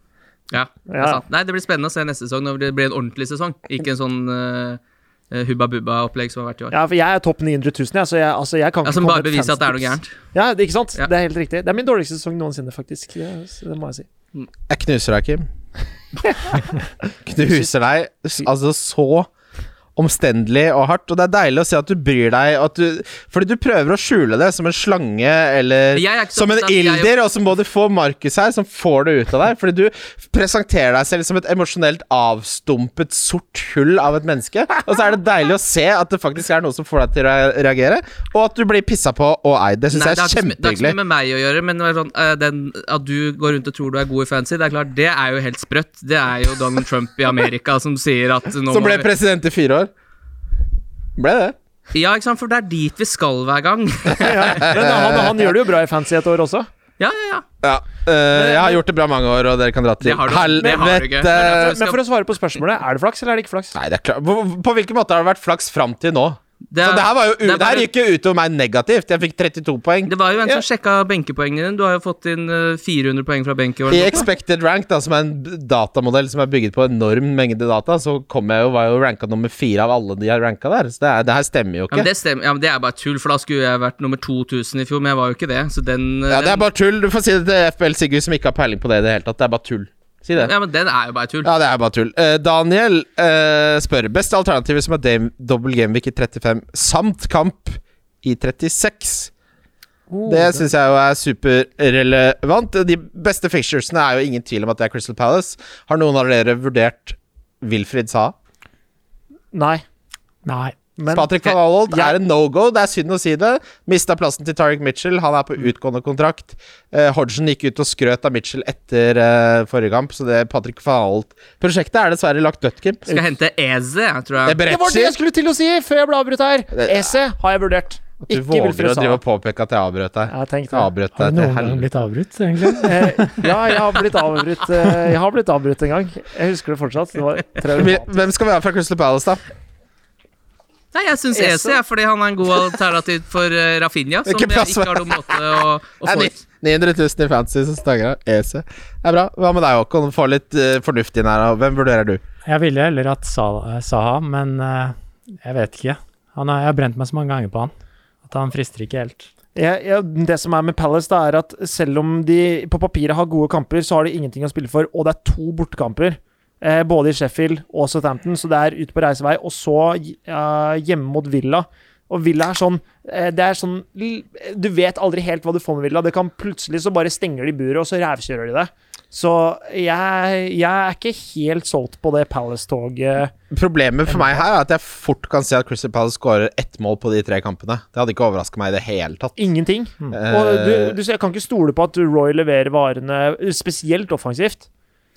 ja. Det, er
Ja.
sant. Nei, det blir spennende å se neste sesong når det blir en ordentlig sesong, ikke en sånn eh, hubba bubba-opplegg som har vært i år.
Ja, for jeg er topp 900 000, jeg, så jeg, altså, jeg kan
Ja,
ikke
som
komme
bare
med et
beviser at det er noe
fancy tips.
gærent.
Ja, det, ikke sant?
Ja.
Det er helt riktig. Det er min dårligste sesong noensinne, faktisk. Det, det må jeg si.
Jeg knuser deg, Kim. knuser deg s- altså så omstendelig og hardt. Og det er deilig å se at du bryr deg, og at du, fordi du prøver å skjule det som en slange eller
Jeg er ikke så
som en
opptatt- jeg er jo-
ilder, og så må du få Markus her, som får det ut av deg. Fordi du presenterer deg selv som et emosjonelt avstumpet, sort hull av et menneske. Og så er det deilig å se at det faktisk er noe som får deg til å re- reagere, og at du blir pissa på og eid. Det syns
Nei,
jeg er
det, har ikke, så mye- det har ikke så
kjempehyggelig.
mye med meg å gjøre, men det er sånn, eh, den, at du går rundt og tror du er god i fancy, det er klart, det er jo helt sprøtt. Det er jo Donald Trump i Amerika som sier at nå
Som
må
ble
vi-
president i fire år. Ble det.
Ja, ikke sant, for det er dit vi skal hver gang.
Ja. Men eh, han, han gjør det jo bra i Fantasy et år også.
ja, ja, ja.
Ja. eh, jeg har gjort det bra mange år, og dere kan dra til
Det har du- det har du ikke. Det er derfor-
Men for å svare på spørsmålet, er det flaks eller er det ikke flaks?
Nei, det er klart. På- På hvilken måte har det vært flaks fram til nå?
Det,
Så det her, var jo, u-
det er
det her
bare-
gikk jo utover meg negativt. Jeg fikk 32 poeng.
Det var jo en
Ja.
som sjekka benkepoengene dine. Du har jo fått inn eh, 400 poeng fra benk i år.
I Expected Rank, da, som er en b- datamodell som er bygget på enorm mengde data, så kom jeg jo, var jeg jo ranka nummer fire av alle de har ranka der. Så det, er, det her stemmer jo
Ja, men
ikke.
det stemmer. Ja, men det er bare tull, for da skulle jeg vært nummer 2000 i fjor, men jeg var jo ikke det. Så den, eh,
Ja, det er
den,
bare tull. Du får si det til FBL Sigurd, som ikke har peiling på det i det hele tatt. Det er bare tull. Si det.
ja, men den er jo bare tull.
Ja, det er bare tull. Eh, Daniel eh, spør beste alternativet som er Dame, double gameweek i 35 samt kamp i 36. Det syns jeg jo er superrelevant. De beste fixturesene er jo ingen tvil om at det er Crystal Palace. Har noen av dere vurdert Wilfried Saha?
Nei.
Nei.
Men
Patrick van Aalholt
jeg-
er en no-go. Det er synd å si det. Mista plassen til Tariq Mitchell. Han er på utgående kontrakt. Eh, Hodgson gikk ut og skrøt av Mitchell etter eh, forrige kamp, så det Patrick van Aalholt-prosjektet er dessverre lagt dødt, Kim.
Skal hente Eze, jeg tror jeg.
det var det jeg skulle til å si før jeg ble avbrutt her! Esse har jeg vurdert.
Du
Ikke
våger å
Wilfred
drive
Saha.
og påpeke at jeg avbrøt deg.
Jeg har tenkt
Jeg
det.
avbrøt
Har
deg
du
til
noen gang
helvete.
blitt avbrutt, egentlig?
Eh, ja, jeg har blitt avbrutt eh, Jeg har blitt avbrutt en gang. Jeg husker det fortsatt. Det var tre år
Hvem- Hvem skal være fra Crystal Palace, da?
Nei, jeg syns
Eze.
Eze er fordi han er en god alternativ for uh, Rafinha, som
Ikke
jeg
plass
ikke
for-
har noen måte å, å
Det er
få ut.
ni- 900 000 i fantasy som stanger av. EC. Det er bra. Hva med deg, Håkon? Få litt eh, fornuft inn her. og Hvem vurderer du?
Jeg ville heller hatt Sa- Saha, men eh, jeg vet ikke. Han har, jeg har brent meg så mange ganger på han at han frister ikke helt.
Jeg, jeg, det som er med Palace, da, er at selv om de på papiret har gode kamper, så har de ingenting å spille for, og det er to bortekamper. Eh, både i Sheffield og Southampton, så det er ut på reisevei. Og så eh, hjemme mot Villa. Og Villa er sånn eh, Det er sånn l- Du vet aldri helt hva du får med Villa. Det kan plutselig så bare stenger de buret, og så rævkjører de det. Så jeg, jeg er ikke helt solgt på det Palace-toget.
Problemet for meg her er at jeg fort kan se at Crystal Palace skårer ett mål på de tre kampene. Det hadde ikke overraska meg i det hele tatt.
Ingenting. Og du,
Eh,
du, jeg kan ikke stole på at Roy leverer varene spesielt offensivt.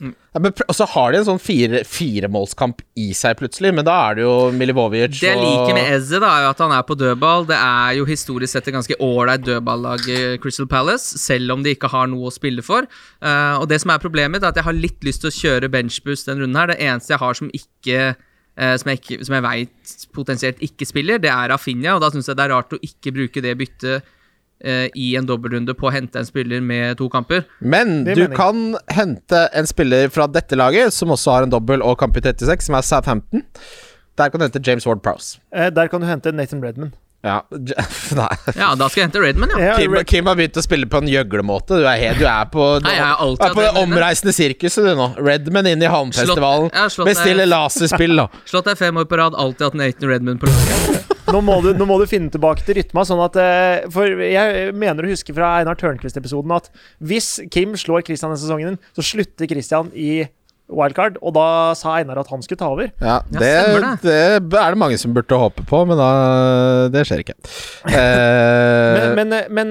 ja, men pr- Og så har de en sånn fire- firemålskamp i seg plutselig, men da er det jo Milivojevic
Det jeg liker med Eze, da, er jo at han er på dødball. Det er jo historisk sett et ganske ålreit dødballag, eh, Crystal Palace, selv om de ikke har noe å spille for. Eh, og det som er problemet, er at jeg har litt lyst til å kjøre benchboost denne runden her. Det eneste jeg har som ikke eh, som jeg, ikke, som jeg vet potensielt ikke spiller, det er Rafinha, og da syns jeg det er rart å ikke bruke det byttet eh, i en dobbeltrunde på å hente en spiller med to kamper.
Men
Det
du
mener jeg.
kan hente en spiller fra dette laget, som også har en dobbel og kamp i 36, som er Southampton. Der kan du hente James Ward Prowse.
Eh, der kan du hente Nathan Redman.
Ja, Nei.
Ja, da skal jeg hente Redman, ja.
Kim, Kim har begynt å spille på en gjøglemåte. Du er, helt, du er på, du
Nei, jeg er alltid
er på det
hatt Redman.
omreisende sirkuset, du nå. Redman inn i Halmfestivalen.
Slått- jeg har slått
Bestille
deg-
laserspill, da.
Slått deg fem år på rad, alltid hatt Nathan Redman på laget.
Nå må, du, nå må du finne tilbake til rytma. Sånn at, eh, for jeg mener å huske fra Einar Tørnquist-episoden at hvis Kim slår Christian denne sesongen, så slutter Christian i wildcard, og da sa Einar at han skulle ta over.
Ja,
Ja,
det,
stemmer
det er det mange som burde håpe på, men da Det skjer ikke. Eh,
Men, men, men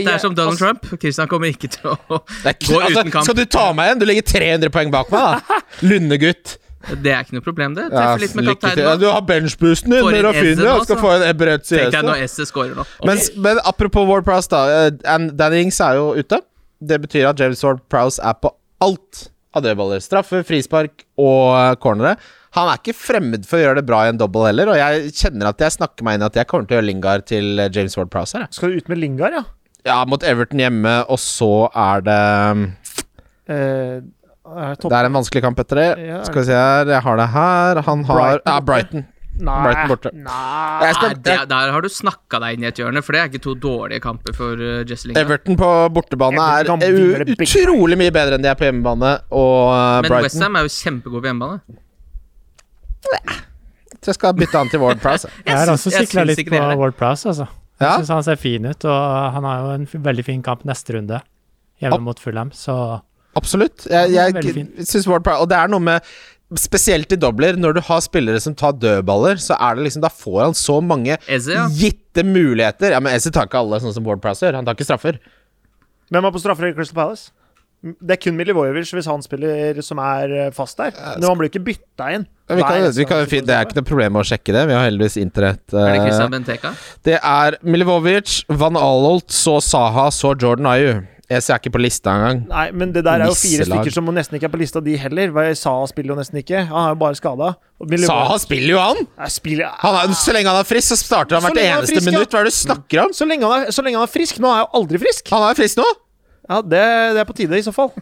Dette
jeg-
er som Donald
altså,
Trump. Kristian kommer ikke til å
det er ikke,
gå
altså,
uten kamp.
Skal du ta meg igjen? Du ligger 300 poeng bak meg, da! Lundegutt.
Det er ikke noe problem, det.
Ja,
Treffer litt med
lykke til. Ja,
kapteinen.
du har benchboosten din
Får
med
inn Eze
Rafinha.
nå,
og Skal
så.
få en Ebrez i
altså. Tenk deg
Eze.
når SS scorer nå.
Men, men apropos Ward Prowse, da. eh, Dan- Danny Ings er jo ute. Det betyr at James Ward Prowse er på alt av dødballer. Straffe, frispark og eh, cornere. Han er ikke fremmed for å gjøre det bra i en double heller, og jeg kjenner at jeg snakker meg inn i at jeg kommer til å gjøre Lingard til eh, James Ward Prowse her. jeg.
Skal du ut med Lingard, ja?
Ja, mot Everton hjemme, og så er det mm,
Eh, er topp-
Det er en vanskelig kamp etter det.
Ja.
Skal vi se her, jeg har det her. Han har
Brighton.
Ja, Brighton.
Nei,
Brighton borte.
Nei.
Jeg
Nei,
skal,
Ah, det, der har du snakka deg inn i et hjørne, for det er ikke to dårlige kamper for uh, Jesse Lingard.
Everton på bortebane
Everton kan
er u-
vingle begge
utrolig mye bedre enn de er på hjemmebane, og eh,
Men
Brighton
Westham er jo kjempegod på hjemmebane.
Så jeg skal bytte han til Ward Prowse. jeg.
Jeg
Jeg har
syns-
også
jeg
sikla
syns
litt
ikke
på
det heller.
Ward Prowse, altså. Jeg
Ja?
syns han ser fin ut, og han har jo en f- veldig fin kamp neste runde hjemme
Opp.
mot Fulham, så
Absolutt. Jeg,
Veldig
jeg
fin.
synes Ward Prowse Og det er noe med Spesielt i dobler, når du har spillere som tar dødballer, så er det liksom Da får han så mange
Eze, ja.
gitte muligheter. Ja, men Ezzy tar ikke alle, sånn som Ward Prowse gjør. Han tar ikke straffer.
Hvem er på straffer i Crystal Palace? Det er kun Milivojevic hvis han spiller som er eh, fast der. Men han blir ikke bytta inn.
Ja, vi kan,
Nei,
vi kan, det er ikke noe problem å sjekke det. Vi har heldigvis internett.
Er det
eh,
Christian Benteka?
Det er Milivovic, Van Alolt, så Saha, så Jordan Ayu. Jeg ser ikke på lista engang.
Nei, men det der er jo fire
Nisselag.
stykker som nesten ikke er på lista, de heller. Saha spiller jo nesten ikke. Han er jo bare skada.
Saha spiller jo, han!
spiller
han er, så lenge han er frisk, så starter han
Så
hvert
lenge han er
eneste
frisk, ja. Mm.
minutt. Hva er det du snakker om?
så, lenge han er, så lenge han er frisk. Nå er han jo aldri frisk.
Han er frisk nå?
Ja, det, det er på tide, i så fall.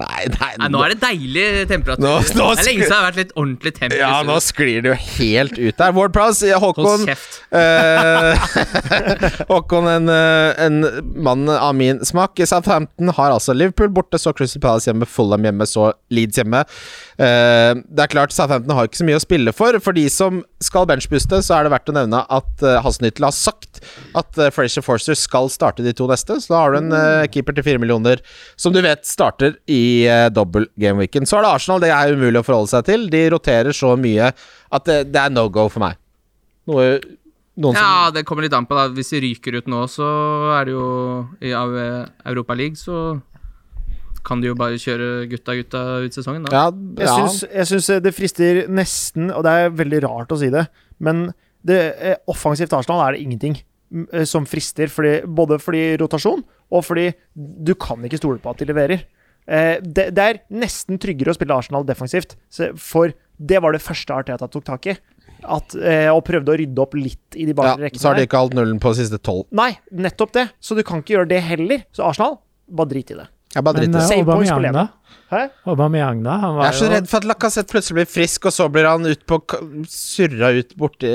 Nei, nei,
Nei, nå er det deilig temperatur.
Nå- nå
det er lenge siden det har vært litt ordentlig temp.
Ja, nå sklir det jo helt ut der. Ward Prowse,
Hold
Håkon
kjeft.
eh, Håkon, en, eh, en mann av min smak. Southampton har altså Liverpool borte, så Crystal Palace hjemme, Fulham hjemme, så Leeds hjemme. Eh, det er klart, Southampton har ikke så mye å spille for. For de som skal benchbuste, så er det verdt å nevne at eh, Hasenhyttel har sagt at eh, Frazier Forster skal starte de to neste. Så da har du en eh, keeper til fire millioner som du vet starter i eh, dobbel gameweeken. Så er det Arsenal, det er umulig å forholde seg til. De roterer så mye at eh, det, det er no go for meg. Noe noen som
Ja, det kommer litt an på, da. Hvis vi ryker ut nå, så er det jo I Europa League, så kan du jo bare kjøre gutta-gutta ut sesongen, da.
Ja,
Jeg,
ja.
syns, jeg syns eh, det frister nesten, og det er veldig rart å si det, men det, eh, offensivt Arsenal er det ingenting mm, eh, som frister, fordi, både fordi rotasjon og fordi du kan ikke stole på at de leverer. Eh, det, det er nesten tryggere å spille Arsenal defensivt, så- for det var det første Arteta tok tak i. At, eh, og prøvde å rydde opp litt i de
ja,
bakre rekkene.
så har de
der.
ikke holdt nullen på de siste tolv.
Nei, nettopp det. Så du kan ikke gjøre det heller. Så Arsenal, bare drit i det.
Jeg bare
Men
driter i det.
eh,
Save points på
Aubameyang, da?
Hæ?
Aubameyang, da?
eh,
Han
Jeg
var
er så
jo
redd for at Lacassette plutselig blir frisk, og så blir han ut på k- surra ut borti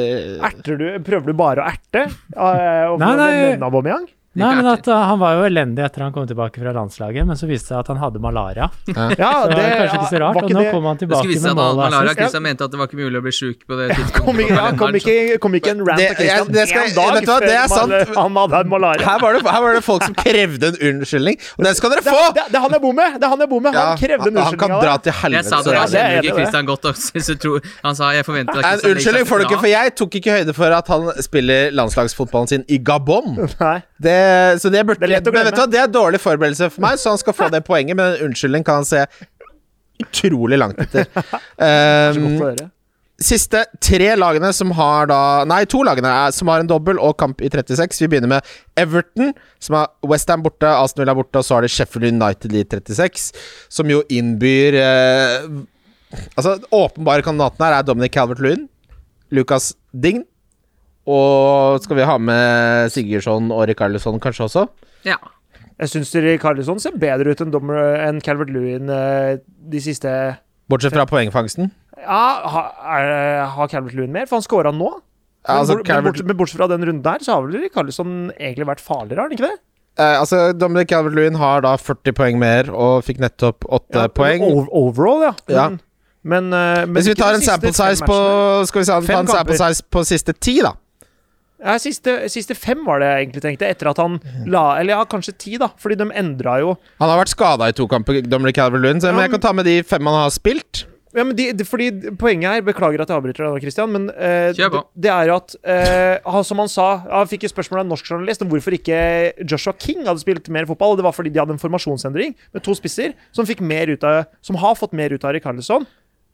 Erter du, prøver du bare å erte? Eh, og
Nei, nei.
nevne Aubameyang?
Nei, men
Ikke
at eh, han var jo elendig etter han kom tilbake fra landslaget, men så viste det seg at han hadde malaria.
Ja,
Så det var kanskje ikke så rart.
var
Og
ikke
nå
det-
kom han
Det skulle
tilbake
vise seg
med
at
mål.
han-
og
Lara
assist.
Kristian mente at det var ikke mulig å bli sjuk på det tidspunktet.
Kom
på
ikke, ja, kom
kalenderen, så-
ikke, kom ikke en rant
Det-
på Christian
jeg- det skal-
én dag
vet du hva,
før
det er
man-
sant.
han hadde malaria.
her var, det, her var det folk som krevde en unnskyldning, og den skal dere
Det,
få!
er- det, er- det er han jeg bor med! Det er Han jeg bor med Han
Ja,
krevde
han-
en
Han kan
unnskyldning av
dra
deg.
til
Jeg
helvete. altså.
sa det,
så
Ja,
jeg kjenner
det er jeg
ikke
enig i.
Christian godt også, hvis du tror Han sa 'jeg forventer at
Nei,
Christian legger seg
unnskyldning får du
flat».
ikke, for jeg tok ikke høyde for at han spiller landslagsfotballen sin i Gabon.
Nei.
Det, så det burde
Det er lett å
men vet
glemme.
du hva, det er dårlig forberedelse for meg, så han skal få det poenget, men en unnskyldning kan han se utrolig langt etter.
Så godt
Um,
å høre.
siste tre lagene som har da Nei, to lagene er, som har en dobbel og kamp i 36. Vi begynner med Everton, som har Westham borte, Aston Villa borte, og så har de Sheffield United i 36, som jo innbyr eh, Altså, åpenbare kandidatene her er Dominic Calvert-Lewin, Lucas Dign og skal vi ha med Sigurdsson og Rikarlisson kanskje også?
Ja.
Jeg syns Carlisson ser bedre ut enn Dommer- enn Calvert Lewin eh, de siste
Bortsett fra poengfangsten.
Ja, ha- er- har Calvert Lewin mer? For han scora nå. Men,
Altså,
bort- men,
Calvert,
bort, men bortsett fra den runden der, så har vel Carlisson egentlig vært farligere, har han ikke det?
eh, altså Dominic Calvert-Lewin har da 40 poeng mer og fikk nettopp 8
Ja,
poeng.
ov- Overall, ja.
Ja.
Men, men, eh, men
Hvis vi
ikke
tar
de
en
siste
sample
fem
size på
matchene.
Skal vi se, han
Fem
tar en sample
kamper.
size på siste ti, da.
Ja, siste, siste fem var det jeg egentlig tenkte, etter at han la Eller ja, kanskje ti, da, fordi de endra jo
Han har vært skada i to kamper, Dominic Calvert-Lewin, så-
Ja,
men jeg kan ta med de fem han har spilt.
Ja, men de, de, fordi Poenget her Beklager at jeg avbryter deg nå, Christian, men eh,
Kjør
det,
på.
det er jo at eh, han- Som han sa Han fikk et spørsmål av en norsk journalist om hvorfor ikke Joshua King hadde spilt mer fotball. og Det var fordi de hadde en formasjonsendring med to spisser som fikk mer ut av Som har fått mer ut av Rikarlison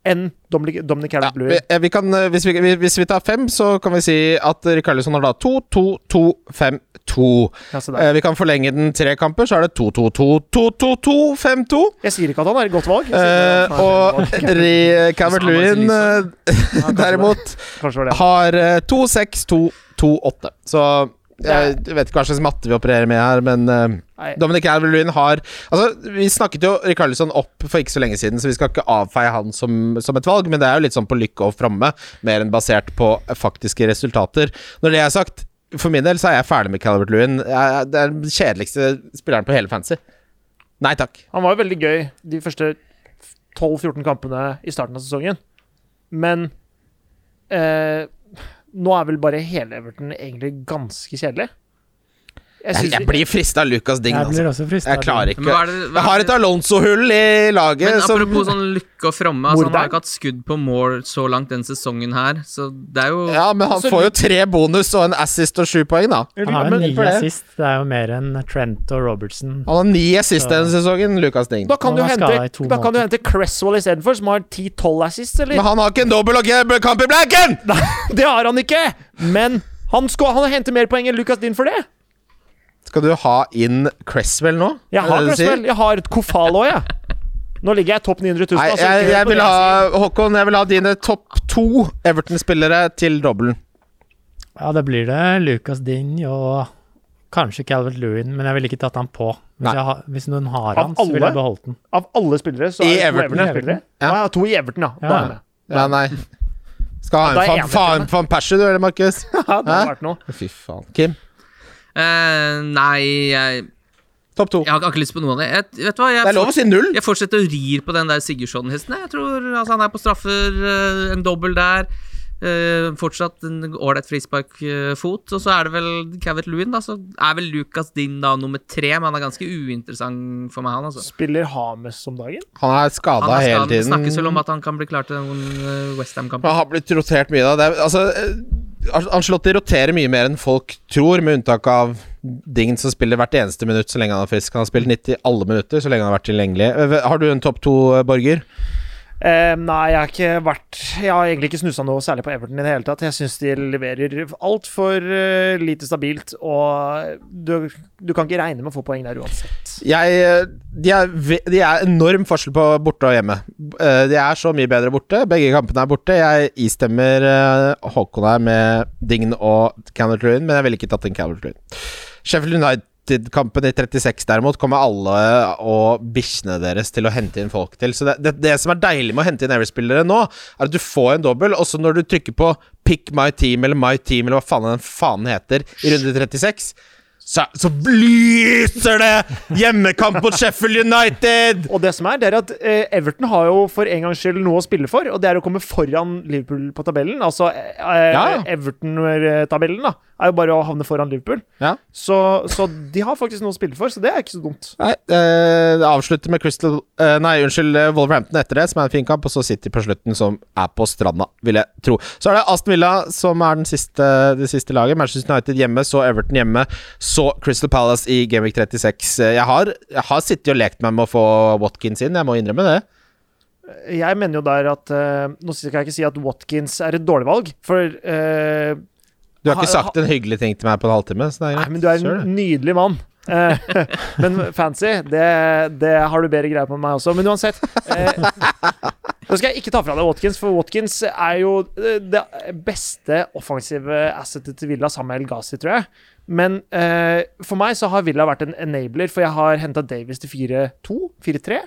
enn Dominic, Dominic
Ja, vi,
Calvert-Lewin.
eh, vi kan, eh, hvis, vi, vi- hvis vi tar fem, så kan vi si at Rikarlison har da 2-2-2-5-2.
Ja, se der.
Eh, Vi kan forlenge den tre kamper, så er det 2-2-2-2-2-2-5-2.
jeg sier ikke at han er et godt valg. Jeg sier
Eh,
bare at han
og
er et veldig godt valg.
Ri- Calvert-Lewin eh,
Ja, kanskje
derimot
det. Kanskje det var det.
har eh, 2-6-2-2-8. Så jeg vet ikke hva slags matte vi opererer med her, men eh,
Nei.
Dominic Calvert-Lewin har Altså, vi snakket jo Rikarlison opp for ikke så lenge siden, så vi skal ikke avfeie han som, som et valg, men det er jo litt sånn på lykke og framme, mer enn basert på faktiske resultater. Når det er sagt, for min del så er jeg ferdig med Calvert-Lewin. Jeg- Det er den kjedeligste spilleren på hele fantasy. Nei takk.
Han var jo veldig gøy de første 12-14 kampene i starten av sesongen. Men eh, nå er vel bare hele Everton egentlig ganske kjedelig. Jeg
Jeg,
synes
jeg blir frista av Lucas Ding,
Jeg
altså.
blir også frista.
Jeg klarer ikke
Men hva er det- hva er
Jeg har et
det-
Alonso-hull i laget
Men
som
apropos sånn lykke og fromme, altså, han har
Morderen?
jo ikke hatt skudd på mål så langt den sesongen her, så det er jo
Ja, men han
Så
får jo tre bonus og en assist og sju poeng, da.
vi
Han har jo
men
ni
for det-
assist. Det er jo mer enn Trent og Robertson.
Han har ni assist denne sesongen, Lucas Ding.
Da kan,
Han
du
var skadet i to
hente, da kan du hente Cresswell istedenfor, som har 10-12 assists,
Men
eller?
han har ikke en dobbel og ikke en kamp i blanken!
Nei, det har han ikke! Men han, skal, han henter mer poeng enn Lucas Din for det.
Skal du ha inn Cresswell nå?
Jeg
Er
har
det det du sier?
Cresswell. Jeg har et Kofal òg, jeg. Nå ligger jeg topp 900 000.
Nei,
altså,
jeg,
hør
jeg
på
vil
det
ha
sier.
Håkon, jeg vil ha dine topp to Everton-spillere til dobbelen.
Ja, da blir det Lucas Digne og kanskje Calvert Lewin, men jeg ville ikke tatt han på. Hvis,
Nei.
jeg har- hvis noen har han, så
alle?
ville jeg beholdt den.
Av alle spillere, så
I
er det to
Everton,
Everton-spillere.
ja.
Ja. Ah, ja, to i Everton, ja. Da er
Ja.
jeg med.
Nei, nei. Skal
Ja,
ha
da er
en
jeg
faen van Persie, du, eller, Markus?
Ja,
Hæ?
det hadde vært noe.
Fy faen. Kim,
eh, Nei, jeg,
topp to.
jeg har ikke lyst på noe av det. Jeg, vet du hva, jeg,
Det er lov å si null.
jeg fortsetter å rir på den der Sigurdsson-hesten. jeg. Jeg tror altså, han er på straffer, eh, en dobbel der. eh, fortsatt en ålreit frisparkfot. Og så er det vel Cavett Lewin, da. Så er vel Lucas Din da nummer tre, men han er ganske uinteressant for meg, han altså.
Spiller Hames om dagen?
Han er skada
Han er
hele
skadet. Det
tiden.
snakkes vel om at han kan bli klar til eh, den Westham-kampen.
Han har blitt rotert mye da. Det er, altså, eh, Ar- Ancelotti roterer mye mer enn folk tror, med unntak av Dingen som spiller hvert eneste minutt så lenge han er frisk. Han har spilt 90 alle minutter så lenge han har vært tilgjengelig. Eh, Har du en topp to, eh, Borger?
Eh, nei, jeg har ikke vært Jeg har egentlig ikke snussa noe særlig på Everton i det hele tatt. Jeg syns de leverer altfor uh, lite stabilt, og du, du kan ikke regne med å få poeng der uansett.
Jeg, eh, de, er, ve- de er enorm forskjell på borte og hjemme. Eh, De er så mye bedre borte. Begge kampene er borte. Jeg istemmer eh, Håkon her med Dign og Calvert Lewin, men jeg ville ikke tatt en Calvert Lewin. Sheffield United-kampen i 36 derimot kommer alle og bikkjene deres til å hente inn folk til. Så det, det, det som er deilig med å hente inn Every-spillere nå, er at du får en dobbel, og så når du trykker på pick my team eller my team eller hva faen den fanen heter i runde 36 så, så lyser det! Hjemmekamp mot Sheffield United!
Og det som er, det er at eh, Everton har jo for en gangs skyld noe å spille for, og det er å komme foran Liverpool på tabellen. Altså eh, eh,
Ja.
Everton-tabellen, da. Er jo bare å havne foran Liverpool.
Ja.
Så, så de har faktisk noe å spille for, så det er ikke så dumt.
Nei, eh, det avslutter med Crystal eh, Nei, unnskyld, eh, Wolverhampton etter det, som er en fin kamp, og så City på slutten, som er på stranda, vil jeg tro. Så er det Aston Villa som er den siste, det siste laget. Manchester United hjemme, så Everton hjemme, så Crystal Palace i Gameweek 36. Eh, Jeg har, jeg har sittet og lekt meg med å få Watkins inn, jeg må innrømme det.
Jeg mener jo der at eh, Nå skal jeg ikke si at Watkins er et dårlig valg, for eh,
Du har ikke
Ha-
sagt en hyggelig ting til meg på en halvtime, så det er
Nei,
greit.
men du er
Sure.
en nydelig mann. Eh, men fancy, det, det har du bedre greie på enn meg også. Men uansett eh, Nå skal jeg ikke ta fra deg Watkins, for Watkins er jo eh, det beste offensive assetet til Villa sammen med El Ghazi, tror jeg. Men eh, for meg så har Villa vært en enabler, for jeg har henta Davies til 4-2, 4-3.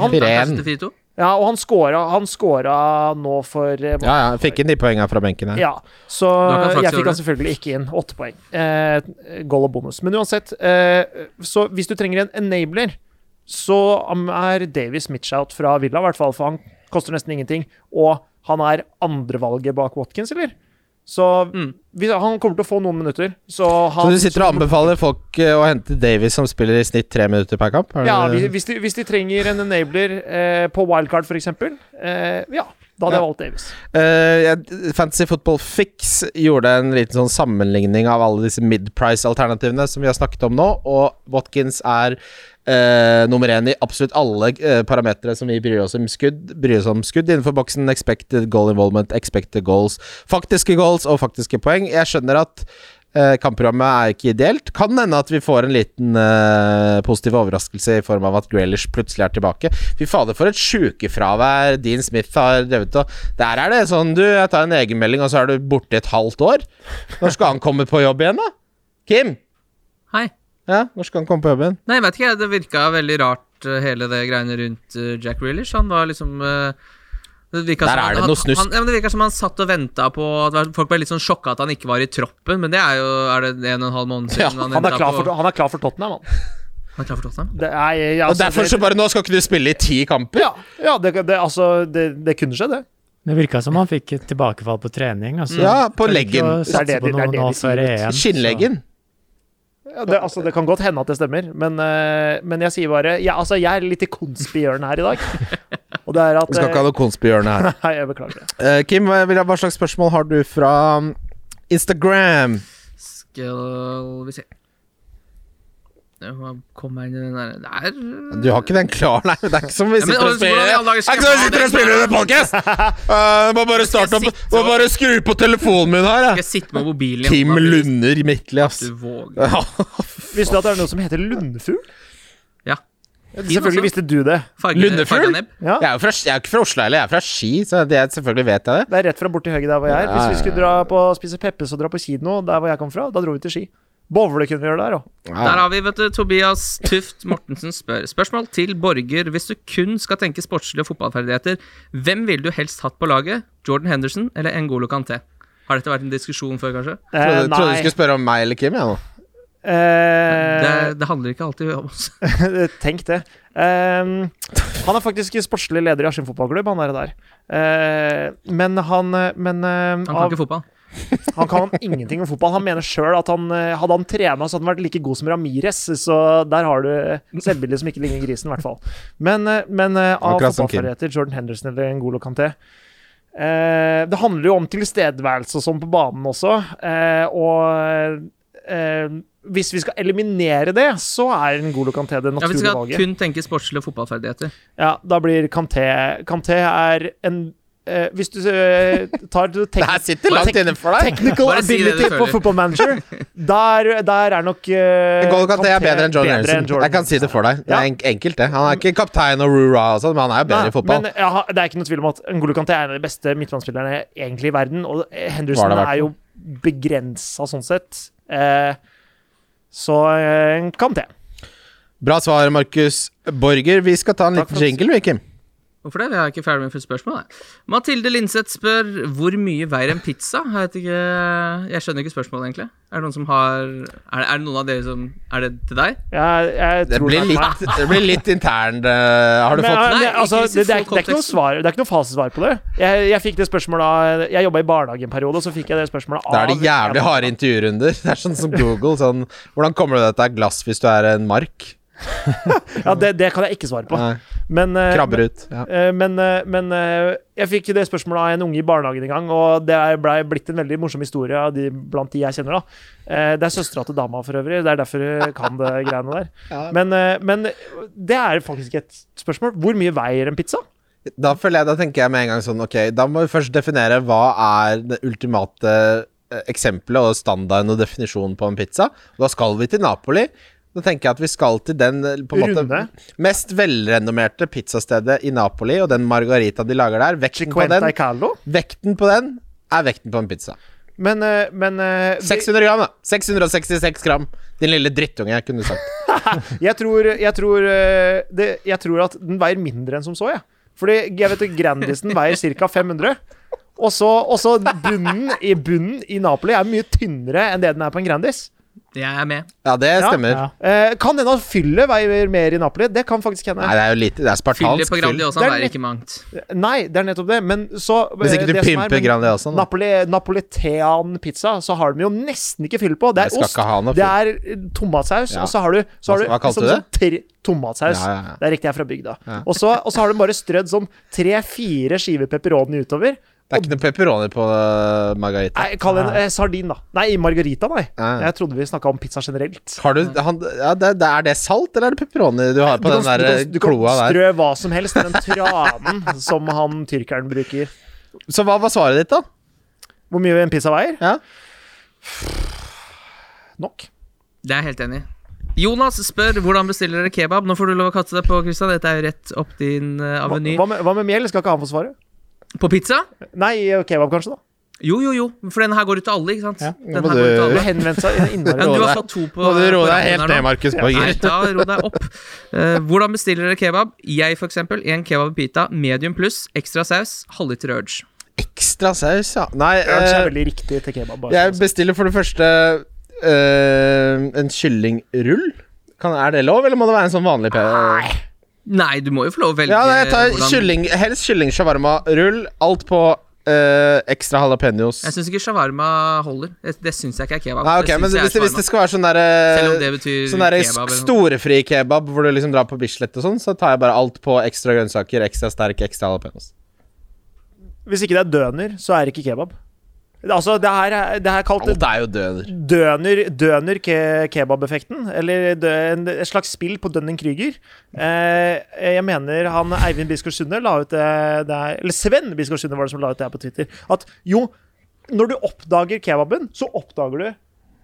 Han-
Ren.
Kanskje til 4-2?
Ja, og han scora, han scora nå for eh,
Ja, ja, fikk inn de poengene fra benken her.
ja, så
Da kan Faxe
jeg fikk
gjøre
han selvfølgelig ikke inn. Åtte poeng. Eh, goal og bonus. Men uansett, eh, så hvis du trenger en enabler, så er Davies Mitchout fra Villa, i hvert fall, for han koster nesten ingenting. Og han er andrevalget bak Watkins, eller? Så
Mm.
vi, han kommer til å få noen minutter. Så,
Så
han,
du sitter og anbefaler folk eh, å hente Davies, som spiller i snitt tre minutter per kamp? Er det-
Ja, hvis- hvis de, hvis de trenger en enabler eh, på wildcard, f.eks. Eh, ja, da hadde jeg valgt Davis.
Eh, jeg- Fantasy Football Fix gjorde en liten sånn sammenligning av alle disse mid-price-alternativene som vi har snakket om nå, og Watkins er eh, nummer én i absolutt alle uh, parametere som vi bryr oss om skudd, bryr oss om skudd innenfor boksen. Expected goal involvement, expected goals, faktiske goals og faktiske poeng. Jeg skjønner at eh, kampprogrammet er ikke ideelt. Kan hende at vi får en liten eh, positiv overraskelse i form av at Grealish plutselig er tilbake. Fy fader, for et sjukefravær Dean Smith har drevet og Der er det sånn, du, jeg tar en egenmelding, og så er du borte i et halvt år. Når skal han komme på jobb igjen, da? Kim?
Hei.
Ja, når skal han komme på jobb igjen?
Nei, jeg vet ikke, det virka veldig rart eh, hele det greiene rundt eh, Jack Reelish. Han var liksom eh, det virka
Der
som
er
han-
det noe snusk.
Han, han, ja, men det virka som han satt og venta på at Folk ble litt sånn sjokka at han ikke var i troppen, men det er jo Er det en og en halv måned siden
Ja,
Han er
ventet
klar for,
på,
han er klar for Tottenham, han.
han er klar for Tottenham?
Det er, ja,
Og
altså,
derfor så
det,
bare Nå skal ikke du spille i ti kamper?
ja, ja, det, det, altså, det, det kunne skje, det.
Det virka som han fikk et tilbakefall på trening. Altså,
Ja, på
Kan ikke
leggen.
satse
Det er det de-
på
det er
noe
det
nå
de sier,
før
vet
EM, så-
Skinnleggen.
Ja, det, altså, det kan godt hende at det stemmer, men, eh, men jeg sier bare ja, altså, Jeg er litt i konspihjørnet her i dag. Og det er at
Vi skal ikke ha noe konspihjørne her.
eh, Nei, jeg beklager det.
Eh, Kim, hva hva slags spørsmål har du fra um, Instagram?
Skal vi se Jeg må komme meg inn i den der Der
Du har ikke den klar, nei. Det er ikke som vi
Ja, men altså,
sitter og spiller
hvordan- hvordan i all
Det er
dager skal
ikke som vi
jeg ha
sitter og
det?
spiller under podcast! Uh, må bare starte opp
Jeg sitter
Må
og-
bare skru på telefonen min her,
Skal
jeg.
jeg sitte med mobilen i
Kim
hånda, hvis
Lunder Midtli, ass.
Du våger.
Ja,
Visste du at det er noe som heter lundefugl?
Ja.
Selvfølgelig visste du det.
Farge-
Lundefugl?
farga nebb.
Ja.
Jeg er jo fra, jeg er jo ikke fra Oslo heller, jeg er fra Ski, så det, selvfølgelig vet jeg det.
Det er rett fra bort til høyre der hvor jeg er.
Ja,
Hvis
ja,
vi skulle dra på, spise Peppes og dra på kino der hvor jeg kom fra, da dro vi til Ski. Bovle kunne vi gjøre der òg.
Der har vi, vet du, Tobias Tuft Mortensen spør. Spørsmål til Borger. Hvis du kun skal tenke sportslige og fotballferdigheter, hvem ville du helst hatt på laget? Jordan Henderson eller N'Golo Kanté? Har dette vært en diskusjon før, kanskje?
Eh,
Trodde, trodde du
nei.
skulle spørre om meg eller Kim, jeg nå.
Det,
Eh,
det handler ikke alltid om oss.
tenk det. Ehm, han er faktisk sportslig leder i Askim fotballklubb, han er der. Eh, men han eh, Men eh,
Han kan
av,
ikke fotball.
han kan ingenting om fotball. Han mener sjøl at han, eh, hadde han trena, så hadde han vært like god som Ramires. Så der har du selvbildet som ikke ligner grisen, i hvert fall. Men, eh, men eh, av
Akkurat som Kim.
fotballferdigheter, Jordan Henderson eller Ngolo Kanté eh, Det handler jo om tilstedeværelse og sånn på banen også, eh, og eh, hvis vi skal eliminere det, så er Ngolo Kanté det
Ja, vi
naturlige
skal
valget.
kun tenke sportslige og fotballferdigheter.
Ja, da blir Kanté Kanté er en eh, Hvis du eh, tar du
Det
tek
her sitter
Bare
langt
tek-
inne for deg.
technical
Bare si det du
ability på
føler.
Football Manager, der, der er nok eh,
Golg at det er bedre enn John
bedre enn
Henderson. Jeg kan si det for deg. Det
Ja.
er en- enkelt, det. Han er ikke kaptein og rura og sånn, men han er jo bedre
Nei,
i fotball.
Men ja, det er ikke noe tvil om at N'Golo Kanté er en av de beste midtbanespillerne egentlig i verden, og
Var
Henderson
det verdt
er jo begrensa sånn sett. Eh, så eh, Kanté.
Bra svar, Markus Borger. Vi skal ta en
Takk
liten
for oss.
jingle, vi, Kim.
Hvorfor det? Vi er ikke ferdig med spørsmål, nei. Mathilde Lindseth spør hvor mye veier en pizza? Jeg, vet ikke, jeg skjønner ikke spørsmålet, egentlig. Er det noen som har Er, er det noen av dere som Er det til deg?
Jeg, jeg
Det
tror
blir
det er meg.
litt, det blir litt intern eh, Har du
Men,
fått
men,
Nei,
altså,
ikke hvis du
det, det,
får
er, det er ikke noe
konteksten.
svar, det er ikke noe fasitsvar på det. Jeg, jeg fikk det spørsmålet av Jeg jobba i barnehage en periode, og så fikk jeg det spørsmålet av
Da er det jævlig harde intervjurunder. Det er sånn som Google. Sånn, hvordan kommer du deg til et glass hvis du er en mark?
Ja, det, det kan jeg ikke svare på.
Nei,
Men, eh,
Krabber ut. Ja.
Eh, Men, eh, men eh, jeg fikk det spørsmålet av en unge i barnehagen en gang, og det er- blei blitt en veldig morsom historie av de, blant de jeg kjenner. da. Eh, Det er søstera til dama, for øvrig. Det er derfor jeg kan det greiene der. Men, eh, men det er faktisk et spørsmål. Hvor mye veier en pizza?
Da, føler jeg, da tenker jeg med en gang sånn Ok, da må vi først definere hva er det ultimate eh, eksempelet og standarden og definisjonen på en pizza. Da skal vi til Napoli. Da tenker jeg at vi skal til den eh, på en måte,
Runde.
mest velrenommerte pizzastedet i Napoli, og den margarita de lager der. Vekten på
Quenta
den,
i Carlo?
vekten på den er vekten på en pizza.
Men, eh, men eh, vi-
600 gram, da. 666 gram. Din lille drittunge, jeg kunne sagt.
jeg, tror, jeg, tror, eh, det, jeg tror at den veier mindre enn som så, jeg. Fordi jeg vet jo, Grandisen veier ca. 500. Og så og så bunnen, i bunnen i Napoli er mye tynnere enn det den er på en Grandis.
Jeg er med.
Ja, det
Ja,
stemmer.
ja.
Eh, kan hende fyllet veier mer i Napoli. Det kan faktisk hende.
Nei, det er jo lite Det er
Fyller
spartansk
på
fyll.
Grandiosa
Det er
er
litt-
ikke mangt.
Nei, det er nettopp det. Men så eh,
Hvis ikke du
det som er,
pimper
men
Grandiosaen, Sånn, da.
Napoli, Napolitean pizza, så har de jo nesten ikke fyll på.
Jeg
Det er
skal
ost,
ikke ha noe
det er eh, tomatsaus,
Ja.
og så har du, så har du
Hva- hva kalte
liksom
du
sånn tre Tomatsaus.
Ja, ja, ja.
Det er riktig, jeg er fra bygda.
Ja.
Og, så, og så har de bare strødd sånn tre-fire skiver pepperoni utover.
Det er ikke noe pepperoni på øh, margarita.
Nei, kall det en eh, sardin, da. Nei, margarita, nei.
Ja, ja.
Jeg trodde vi snakka om pizza generelt.
Har du han, ja, det, det, Er det salt, eller er det pepperoni du har på den der eh,
du kan
kloa der?
strø hva som helst i den tranen som han tyrkeren bruker.
Så hva var svaret ditt, da?
Hvor mye en pizza veier?
Ja.
Nok.
Det er jeg helt enig i. Jonas spør hvordan bestiller dere kebab. Nå får du lov å kaste deg på, Christian. Dette er jo rett opp din uh,
Hva,
aveny.
hva, med, hva med mel? Skal ikke han få svare?
På pizza?
Nei, eh, kebab kanskje, da.
Jo, jo, jo. For den her går ut til alle, ikke sant?
Ja.
Den
Må
her
du-
går ut til
Du
alle.
henvendte seg
Men
innmari.
Roe
du har
deg.
fått to på
Må du roe
på
deg helt
rappen her
ned,
nå.
Markus
Nei,
Borger.
da ro deg opp. Eh, hvordan bestiller dere kebab? Jeg, for eksempel, en kebab pita, medium pluss, ekstra saus, halvliter urge.
Ekstra saus, ja. Nei,
Urge er
eh,
veldig riktig til kebab. Bare.
jeg bestiller for det første øh, en kyllingrull. Kan, er det lov, eller må det være en sånn vanlig pe...
Nei, du må jo få lov å velge
Ja, nei, jeg tar
Eh, hvordan-
kylling, helst kylling shawarma rull. Alt på øh, ekstra jalapeños.
Jeg syns ikke shawarma holder. Det, det syns jeg ikke er kebab.
Nei, ok,
det
men
synes jeg er
hvis det, hvis det
shawarma.
skal være sånn
Selv om
derre
det betyr
Sånn der
kebab.
sk-
eller noe.
storefri kebab hvor du liksom drar på Bislett og sånn, så tar jeg bare alt på ekstra grønnsaker, ekstra sterk, ekstra jalapeños.
Hvis ikke det er døner, så er det ikke kebab. Altså, det her er, det her er kalt
Alt er jo døner.
døner, døner ke kebab-effekten. Eller dø en, et slags spill på Dunning-Krüger. Eh, jeg mener han Eivind Biskår Sunde la ut eh, det der Eller Sven Biskår Sunde var det som la ut det her på Twitter. At jo, når du oppdager kebaben, så oppdager du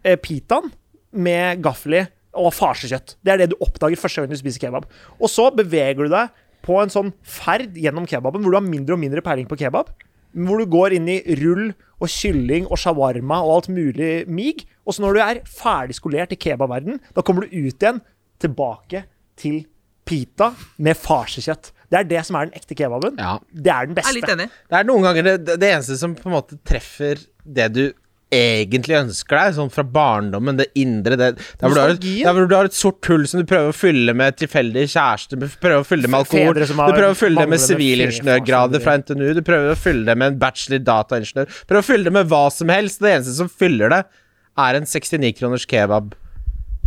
eh, pitaen med gaffel i og farsekjøtt. Det er det du oppdager første gang du spiser kebab. Og så beveger du deg på en sånn ferd gjennom kebaben hvor du har mindre og mindre peiling på kebab. Hvor du går inn i rull og kylling og shawarma og alt mulig mig. Og så når du er ferdig skolert i kebabverden, da kommer du ut igjen tilbake til pita med farsekjøtt. Det er det som er den ekte kebaben.
Ja.
Det er den
Jeg er litt
beste.
enig.
Det er noen ganger det, det eneste som på en måte treffer det du egentlig ønsker deg, sånn fra barndommen, det indre det, der, hvor du har et,
Nostalgien.
der hvor du har et sort hull som du prøver å fylle med tilfeldig kjæreste, du prøver å fylle det med alkohol, du
Fedre som har
prøver å fylle det med
manglende
sivilingeniørgrader fra NTNU, du prøver å fylle det med en bachelor i dataingeniør, prøver å fylle det med hva som helst. Det eneste som fyller det, er en 69 kroners kebab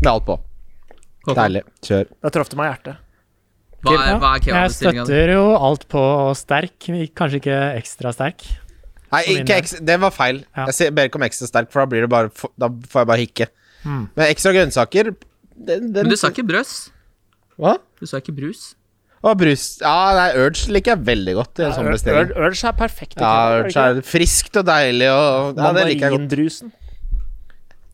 med alt på.
Håkon,
Deilig. Kjør.
Da traff det meg i hjertet.
Hva er, hva er
jeg
kebabbestillinga di?
støtter jo alt på sterk, kanskje ikke ekstra sterk.
Nei,
min
ikke
del.
ekstra, det var feil.
Ja.
Jeg sier- ber ikke om ekstra sterk, for da, blir det bare, f- da får jeg bare hikke. Men ekstra grønnsaker den, den,
Men du sa ikke brøs.
Hva?
Du sa ikke brus.
Og brus. Ja, nei, Urge liker jeg veldig godt. i en sånn
Ur-
bestilling.
Ur- Urge er perfekt. i
Ja,
kebab, er det
Urge
ikke det?
er friskt og deilig og ja, Det liker jeg godt.
Mandarindrusen.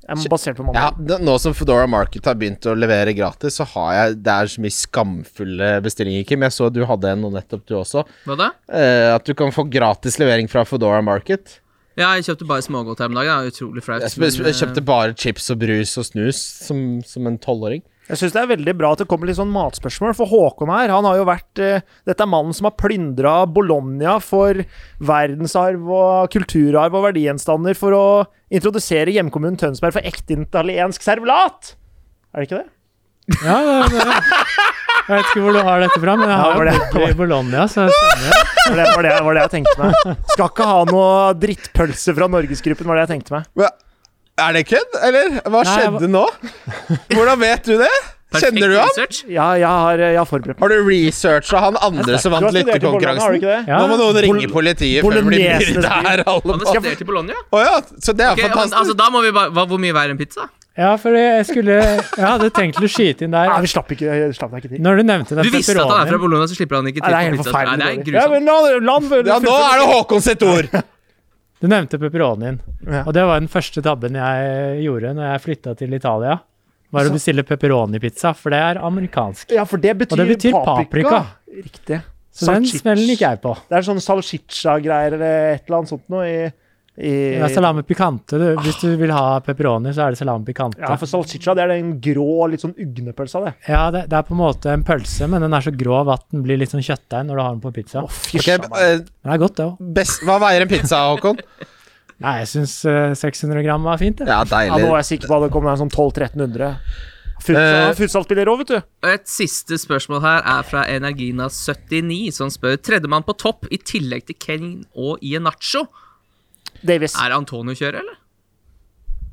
Er Basert på
Ja,
mandarin.
det- nå som Foodora Market har begynt å levere gratis, så har jeg Det er så mye skamfulle bestillinger, Kim. Jeg så du hadde en nå nettopp, du også.
Hva da?
Eh, at du kan få gratis levering fra Foodora Market.
Ja, jeg kjøpte bare smågodt her om dagen. Det er utrolig flaut.
Jeg, sp- jeg
men,
kjøpte bare chips og brus og snus som, som en tolvåring.
Jeg syns det er veldig bra at det kommer litt sånn matspørsmål, for Håkon her, han har jo vært eh, Dette er mannen som har plyndra Bologna for verdensarv og kulturarv og verdigjenstander for å introdusere hjemkommunen Tønsberg for ekte italiensk servelat! Er det ikke det?
Ja, det, det. Jeg vet ikke hvor du har dette fra, men jeg
Ja,
har
var
jo
det-
bodd i Bologna, så det stemmer jo.
Var det, var det, var det jeg tenkte meg. Skal ikke ha noe drittpølse fra Norgesgruppen, var det jeg tenkte meg.
Hva- Er det kødd, eller? Hva
Nei, jeg
skjedde nå? Hvordan vet du det?
perfekt
Kjenner du ham?
research.
Ja, jeg har, eh, jeg har forberedt meg.
Har du researcha han andre som
Du
vant
har studert i Bologna, har du
lyttekonkurransen?
ikke det?
Ja.
Nå må noen ringe
Bol-
politiet før det blir
Bolognese
myrda her. alle
Han har
på-
studert i Bologna.
Å ja, så det er
Ok, men,
fantastisk.
altså, da må vi bare hva, Hvor mye er en pizza?
Ja, fordi jeg skulle Jeg hadde tenkt å skyte inn
Nei,
der
vi slapp, ikke, slapp deg ikke til.
Når du nevnte den
Du visste at han er fra
pepperonien
Bologna, så slipper han ikke
Nei,
til
det er helt
på pizza. Nei, det
forferdelig
er
dårlig. Ja,
grusomt.
men la, la, han-
ja, nå
fullføre.
er det Håkon sitt ord!
Du nevnte pepperonien.
Ja.
Og det var den første tabben jeg gjorde når jeg flytta til Italia. Var å bestille pepperoni-pizza, for det er amerikansk.
Ja, for det betyr,
Og det betyr paprika.
Riktig.
Så den
Salchicha.
smellen gikk jeg på.
Det er sånn salchicha-greier eller et eller annet sånt noe i, i
Det er salami picante. Du. Hvis du vil ha pepperoni, så er det salami picante.
Ja, for salchicha det er den grå, litt sånn ugnepølsa, det.
Ja, det, det er på en måte en pølse, men den er så grov at den blir litt sånn kjøttdeig når du har den på pizza.
Å,
Ok,
fysj a meg.
eh,
Men det er godt, det òg.
best, hva veier en pizza, Håkon?
Nei, jeg syns 600 gram var fint, det.
Ja,
Ja, nå
deilig.
er jeg sikker på at det kommer en sånn 1200-1300. Futsal,
Eh.
futsalspiller òg, vet du.
Og Et siste spørsmål her er fra Energina79, som spør tredjemann på topp i tillegg til Kane og Ienacho.
Davies.
Er Antonio kjører, eller?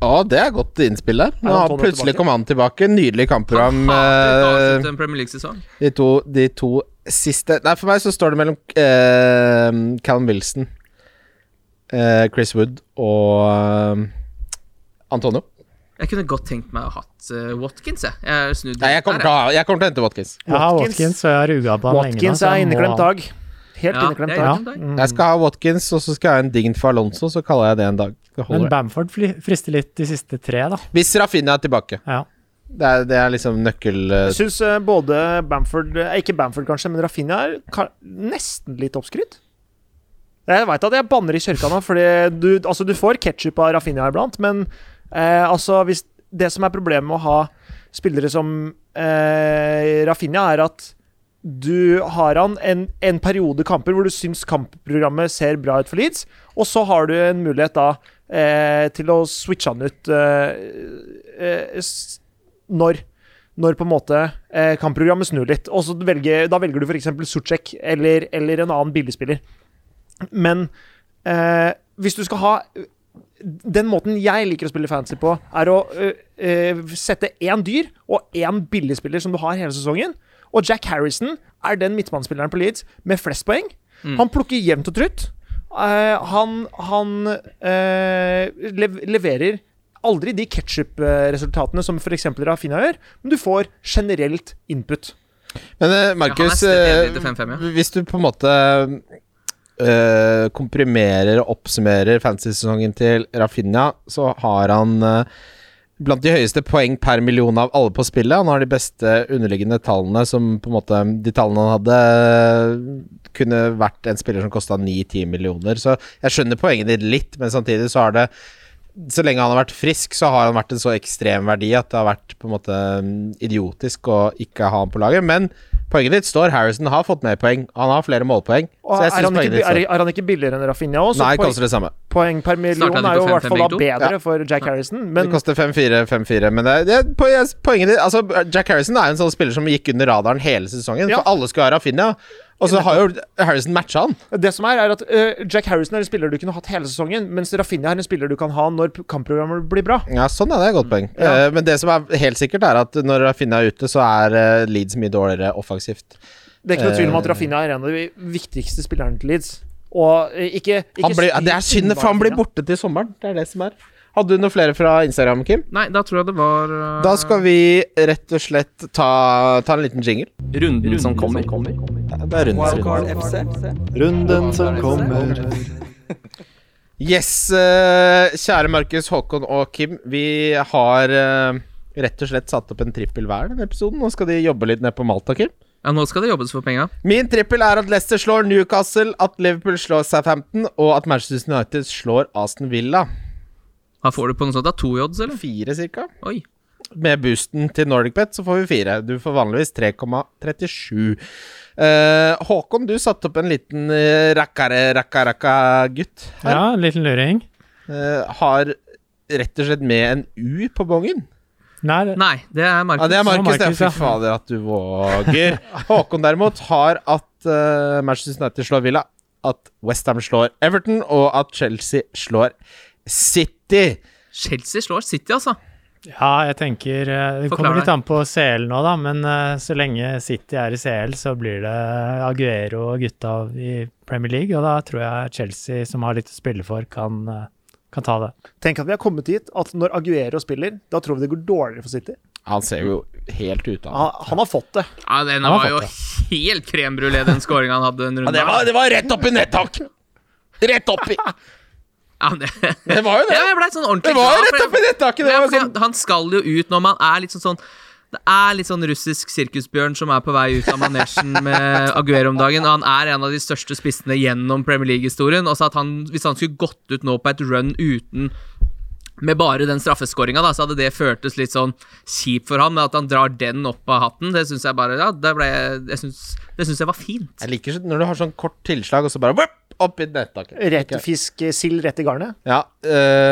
Å, det er godt innspill der. Nå
Ja,
har
Antonio
plutselig
tilbake.
kom han tilbake. Nydelig kampprogram.
Han hater å
eh,
avslutte en Premier League-sesong.
de, to, de to siste Nei, for meg så står det mellom eh, Callum Wilson, eh, Chris Wood og eh, Antonio.
Jeg kunne godt tenkt meg å ha hatt eh, Watkins, jeg. Jeg har snudd
Nei, jeg kommer til å, ha- jeg kommer til å hente Watkins.
Jeg har
Watkins.
Watkins, og jeg har ruga på han lenge. nå,
Watkins
så jeg
er
må
inneklemt
ha-
dag. Helt
Ja,
inneklemt
det er
dag.
inneklemt dag.
Mm.
Jeg skal ha Watkins, og så skal jeg ha en dign for Alonso, så kaller jeg det en dag. Det holder.
Men Bamford fly- frister litt de siste tre, da.
Hvis Rafinha er tilbake.
Ja.
Det er, det er liksom nøkkel...
Jeg syns eh, både Bamford eh, Ikke Bamford, kanskje, men Rafinha er ka nesten litt oppskrytt. Jeg veit at jeg banner i kjørka nå, fordi du, altså, du får ketsjup av Rafinha iblant, men eh, altså hvis Det som er problemet med å ha spillere som eh, Rafinha, er at du har han en, en periode kamper hvor du syns kampprogrammet ser bra ut for Leeds, og så har du en mulighet da eh, til å switche han ut eh, eh, s- når når på en måte eh, kampprogrammet snur litt. Og så velge, da velger du f.eks. Sucek eller, eller en annen billigspiller. Men eh, hvis du skal ha Den måten jeg liker å spille fancy på, er å eh, eh, sette én dyr og én billigspiller som du har hele sesongen. Og Jack Harrison er den midtbanespilleren på Leeds med flest poeng.
Mm.
Han plukker jevnt og trutt. Eh, han han eh, lev leverer aldri de ketsjup-resultatene som f.eks. Rafinha gjør, men du får generelt input.
Men eh,
han er
Markus,
stedet
eh,
enig til 5-5, ja.
hvis du på en måte eh, komprimerer og oppsummerer fantasy-sesongen til Rafinha, så har han eh, blant de høyeste poeng per million av alle på spillet. Han har de beste underliggende tallene som på en måte De tallene han hadde, eh, kunne vært en spiller som kosta 9-10 millioner. Så jeg skjønner poenget ditt litt, men samtidig så har det så lenge han har vært frisk, så har han vært en så ekstrem verdi at det har vært på en måte mm, idiotisk å ikke ha han på laget. Men poenget ditt står. Harrison har fått mer poeng. Han har flere målpoeng.
Og
Så
er,
jeg synes
han ikke,
poenget
bi-
ditt
er,
står.
er han ikke billigere enn Rafinha òg? Så
Nei, det
poeng,
koster det samme.
poeng per million
Starter han
er
ikke
jo i
på
hvert
5-5
fall da
begge to?
bedre for Jack Harrison, men
det koster 5-4-5-4, men det, det, po- jeg- poenget ditt Altså, Jack Harrison er jo en sånn spiller som gikk under radaren hele sesongen,
Ja.
for alle skulle ha Rafinha. Og så har jo Harrison matcha han.
Det som er, er at øh, Jack Harrison er en spiller du kunne hatt hele sesongen, mens Rafinha er en spiller du kan ha når p- kampprogrammet blir bra.
Ja, sånn er det. Godt poeng.
Ja.
Eh, men det som er helt sikkert, er at når Rafinha er ute, så er eh, Leeds mye dårligere offensivt.
Det er ikke noe tvil om at
Eh.
Rafinha er en av de viktigste spillerne til Leeds. Og øh, ikke, ikke
Han blir, ja, det er
styr
synd, for han blir
Rafinha.
borte til sommeren. Det er det som er. Hadde du noe flere fra Instagram, Kim?
Nei, da tror jeg det var eh,
Da skal vi rett og slett ta, ta en liten jingle.
runden som kommer.
Ja, Det er rundens runde.
Runden som kommer.
Yes, eh, kjære Markus, Håkon og Kim. Vi har eh, rett og slett satt opp en trippel hver denne episoden. Nå skal de jobbe litt ned på Malta, Kim.
Ja, nå skal det jobbes for penga.
Min trippel er at Leicester slår Newcastle, at Liverpool slår Southampton, og at Manchester United slår Aston Villa.
Hva får du på noe sånt? da? To i odds, eller?
Fire, cirka.
Oi.
med boosten til NordicBet, så får vi fire. Du får vanligvis 3,37. Eh, Håkon, du satte opp en liten eh, rakkare, rakka, rakka gutt her.
Ja, en liten luring.
Eh, har rett og slett med en U på bongen.
Nei, det-
Nei, det er
Ja,
Markus.
det er
Markus,
Markus, det.
Markus,
Fy
ja.
fader, at du våger. Håkon derimot har at eh, Manchester United slår Villa, at Westham slår Everton, og at Chelsea slår City.
Chelsea slår City, altså.
ja, jeg tenker eh, Det
Forklar
kommer litt
deg.
an på CL nå, da, men eh, så lenge City er i CL, så blir det Aguero og gutta i Premier League, og da tror jeg Chelsea, som har litt å spille for, kan, eh, kan ta det.
Tenk at vi har kommet dit at når Aguero spiller, da tror vi det går dårligere for City.
Han ser jo helt ut av
Han, han har fått det.
Ja, Den
Han har
var jo helt crème brulé, den scoringa han hadde. Den runden
det var,
her.
det var rett opp i nettak! Rett opp i
Ja, det...
Det var jo det!
Ja, jeg blei sånn ordentlig
Det var jo
glad, for
rett
jeg-
opp i nettaket! Det
Ja,
var
fordi
sånn,
Han skal jo ut når man er litt sånn sånn Det er litt sånn russisk sirkusbjørn som er på vei ut av manesjen med Aguero om dagen. og Han er en av de største spissene gjennom Premier League-historien. Og så at han, Hvis han skulle gått ut nå på et run uten med bare den straffeskåringa, da, så hadde det føltes litt sånn kjipt for ham. Men at han drar den opp av hatten, det syns jeg bare ja, det, ble, jeg synes, det synes jeg var fint.
jeg liker sånn når du har sånn kort tilslag, og så bare whip, opp i nettaket.
Rett
Ok.
fisk, eh, sild rett i garnet.
Ja.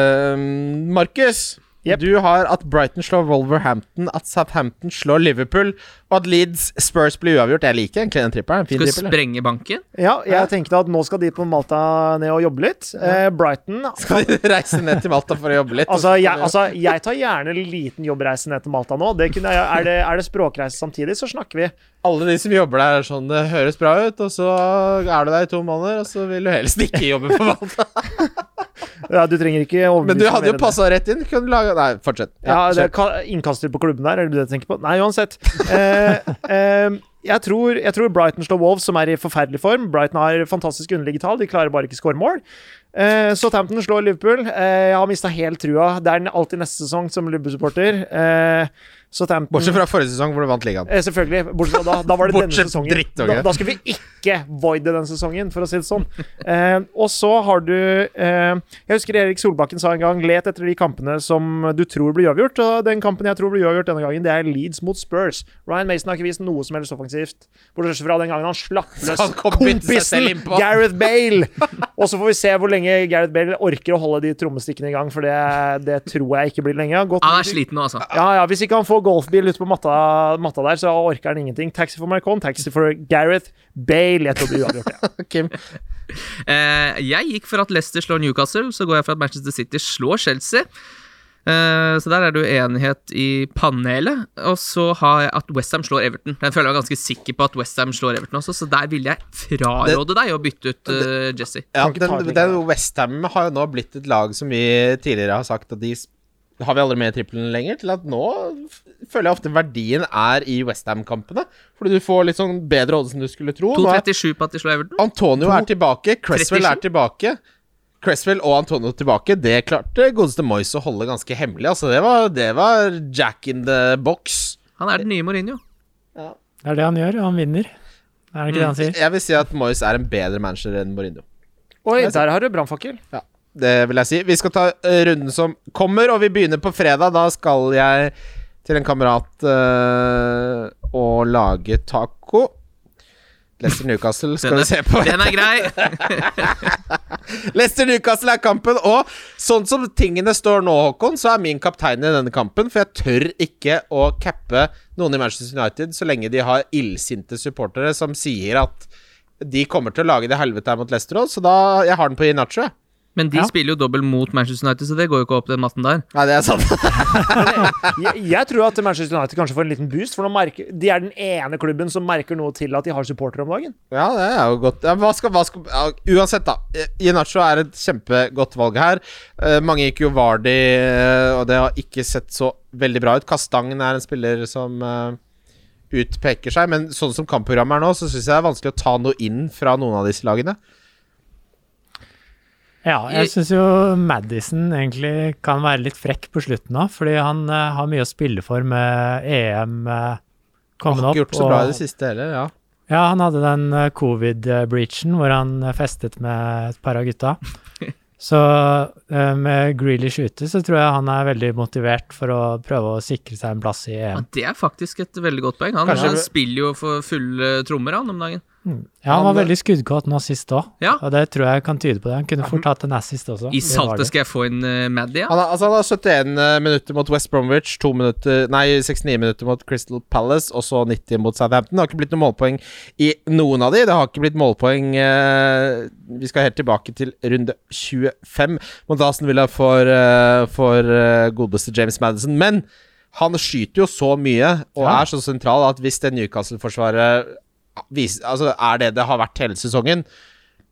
ehm, Markus,
Jep.
du har at Brighton slår Wolverhampton, at Southampton slår Liverpool, og at Leeds Spurs blir uavgjort. Jeg liker egentlig den trippelen. Fin
Skal vi
trippel.
sprenge banken?
Ja, jeg tenkte at nå skal de på Malta ned og jobbe litt. Eh, Brighton
Skal de reise ned til Malta for å jobbe litt?
Altså jeg, altså, jeg tar gjerne en liten jobbreise ned til Malta nå. Det kunne jeg, er, det, er det språkreise samtidig, så snakker vi.
Alle de som jobber der, er sånn Det høres bra ut, og så er du der i to måneder, og så vil du helst ikke jobbe på Malta.
Ja, du trenger ikke overbevise
Men du
meg mer
hadde
enn
jo
det.
passa rett inn. Kunne du lage Nei, fortsett.
Ja,
kjør.
det er ka- innkaster på klubben der, er det det du tenker på? Nei, uansett. Eh, eh, jeg, tror, jeg tror Brighton slår Wolves, som er i forferdelig form. Brighton har fantastiske underliggetall, de klarer bare ikke skåre mål. Eh, Southampton slår Liverpool. Eh, jeg har mista helt trua. Det er den alltid neste sesong som Liverpool-supporter. Eh, Southampton
Bortsett fra forrige sesong, hvor du vant ligaen.
Eh, selvfølgelig. Bortsett fra da. Da var det denne
Bortsett fra
sesongen.
drittunge.
Da, da skal vi ikke voide den sesongen, for å si det sånn. Eh, og så har du eh, Jeg husker Erik Solbakken sa en gang let etter de kampene som du tror blir uavgjort. Og den kampen jeg tror blir uavgjort denne gangen, det er Leeds mot Spurs. Ryan Mason har ikke vist noe som helst offensivt, bortsett fra den gangen han slapp løs
Han kom- begynte seg selv
kompisen
innpå.
Gareth Bale! Og så får vi se hvor lenge Gareth Bale orker å holde de trommestikkene i gang, for det, det tror jeg ikke blir lenge. Han har gått
Han er sliten nå, altså.
ja, ja, Hvis ikke han får golfbil ute på matta, matta der, så orker han ingenting. Taxi for Marcon, taxi for Gareth Bale. Jeg tror det blir uavgjort, ja.
Kim.
Eh, jeg gikk for at Leicester slår Newcastle, så går jeg for at Manchester City slår Chelsea. Eh, så der er det jo enighet i panelet. Og så har jeg at Westham slår Everton. Jeg føler jeg var ganske sikker på at Westham slår Everton også, så der ville jeg fraråde deg å bytte ut eh, Jesse.
Ja,
Kan ikke ta
den,
det
den Westham har jo nå blitt et lag som vi tidligere har sagt at de s- har vi aldri med i trippelen lenger, til at nå f- føler jeg ofte verdien er i Westham-kampene. Fordi du får litt sånn bedre odds enn du skulle tro. Nå er
2.37 på at de slår Everton.
Antonio er tilbake, Cresswell er
37?
tilbake. Cresswell og Antonio tilbake, det klarte godeste Moyes å holde ganske hemmelig. Altså, det var, det var jack in the box.
Han er den nye Mourinho.
Det er det han gjør, og han vinner. Er det ikke det han sier?
Jeg vil si at Moyes er en bedre manager enn Mourinho.
Oi, der har du brannfakkel.
Ja, det vil jeg si. Vi skal ta eh, runden som kommer, og vi begynner på fredag. Da skal jeg til en kamerat eh, og lage taco. Leicester Newcastle skal
Den
vi se på.
er, den er grei.
Leicester Newcastle er kampen, og sånn som tingene står nå, Håkon, så er min kaptein i denne kampen, for jeg tør ikke å cappe noen i Manchester United så lenge de har illsinte supportere som sier at de kommer til å lage det helvete her mot Leicester òg, så da Jeg har den på Inacho, jeg.
Men de
Ja.
spiller jo dobbelt mot Manchester United, så det går jo ikke opp den matten der.
Nei, det er sant.
Jeg, jeg tror at Manchester United kanskje får en liten boost, for nå merker, de er den ene klubben som merker noe til at de har supportere om dagen.
Ja, det er jo godt. Ja, hva skal, hva skal, ja, uansett, da. Eh, Iheanacho er et kjempegodt valg her. Eh, mange gikk jo Vardi, eh, og det har ikke sett så veldig bra ut. Kastangen er en spiller som eh, utpeker seg, men sånn som kampprogrammet er nå, så syns jeg det er vanskelig å ta noe inn fra noen av disse lagene.
Ja, jeg syns jo Madison egentlig kan være litt frekk på slutten nå, fordi han eh, har mye å spille for med EM eh,
Han har
kommende opp.
ikke gjort så bra i
og-
det siste heller, ja.
Ja, han hadde den eh, covid-breachen hvor han eh, festet med et par av gutta. Så eh, med Grealish ute så tror jeg han er veldig motivert for å prøve å sikre seg en plass i E
Ja,
EM.
det er faktisk et veldig godt poeng. Han,
Kanskje-
han spiller jo for fulle trommer, han, om dagen.
Ja, han var
han-
veldig skuddkåt nå sist òg,
Ja.
og det tror jeg kan tyde på det. Han kunne fort hatt en assist også.
I
Det var
saltet
det.
skal jeg få inn uh, Maddy, ja.
Han har, altså, han har 71 minutter mot West Bromwich, to minutter, nei, 69 minutter mot Crystal Palace og så 90 mot Southampton. Det har ikke blitt noen målpoeng i noen av de. Det har ikke blitt målpoeng eh, Vi skal helt tilbake til runde 25 mot Aston Villa for, eh, for eh, godeste James Madison. Men han skyter jo så mye og
Ja.
er så sentral at hvis det Newcastle-forsvaret viser, altså, er det det har vært hele sesongen,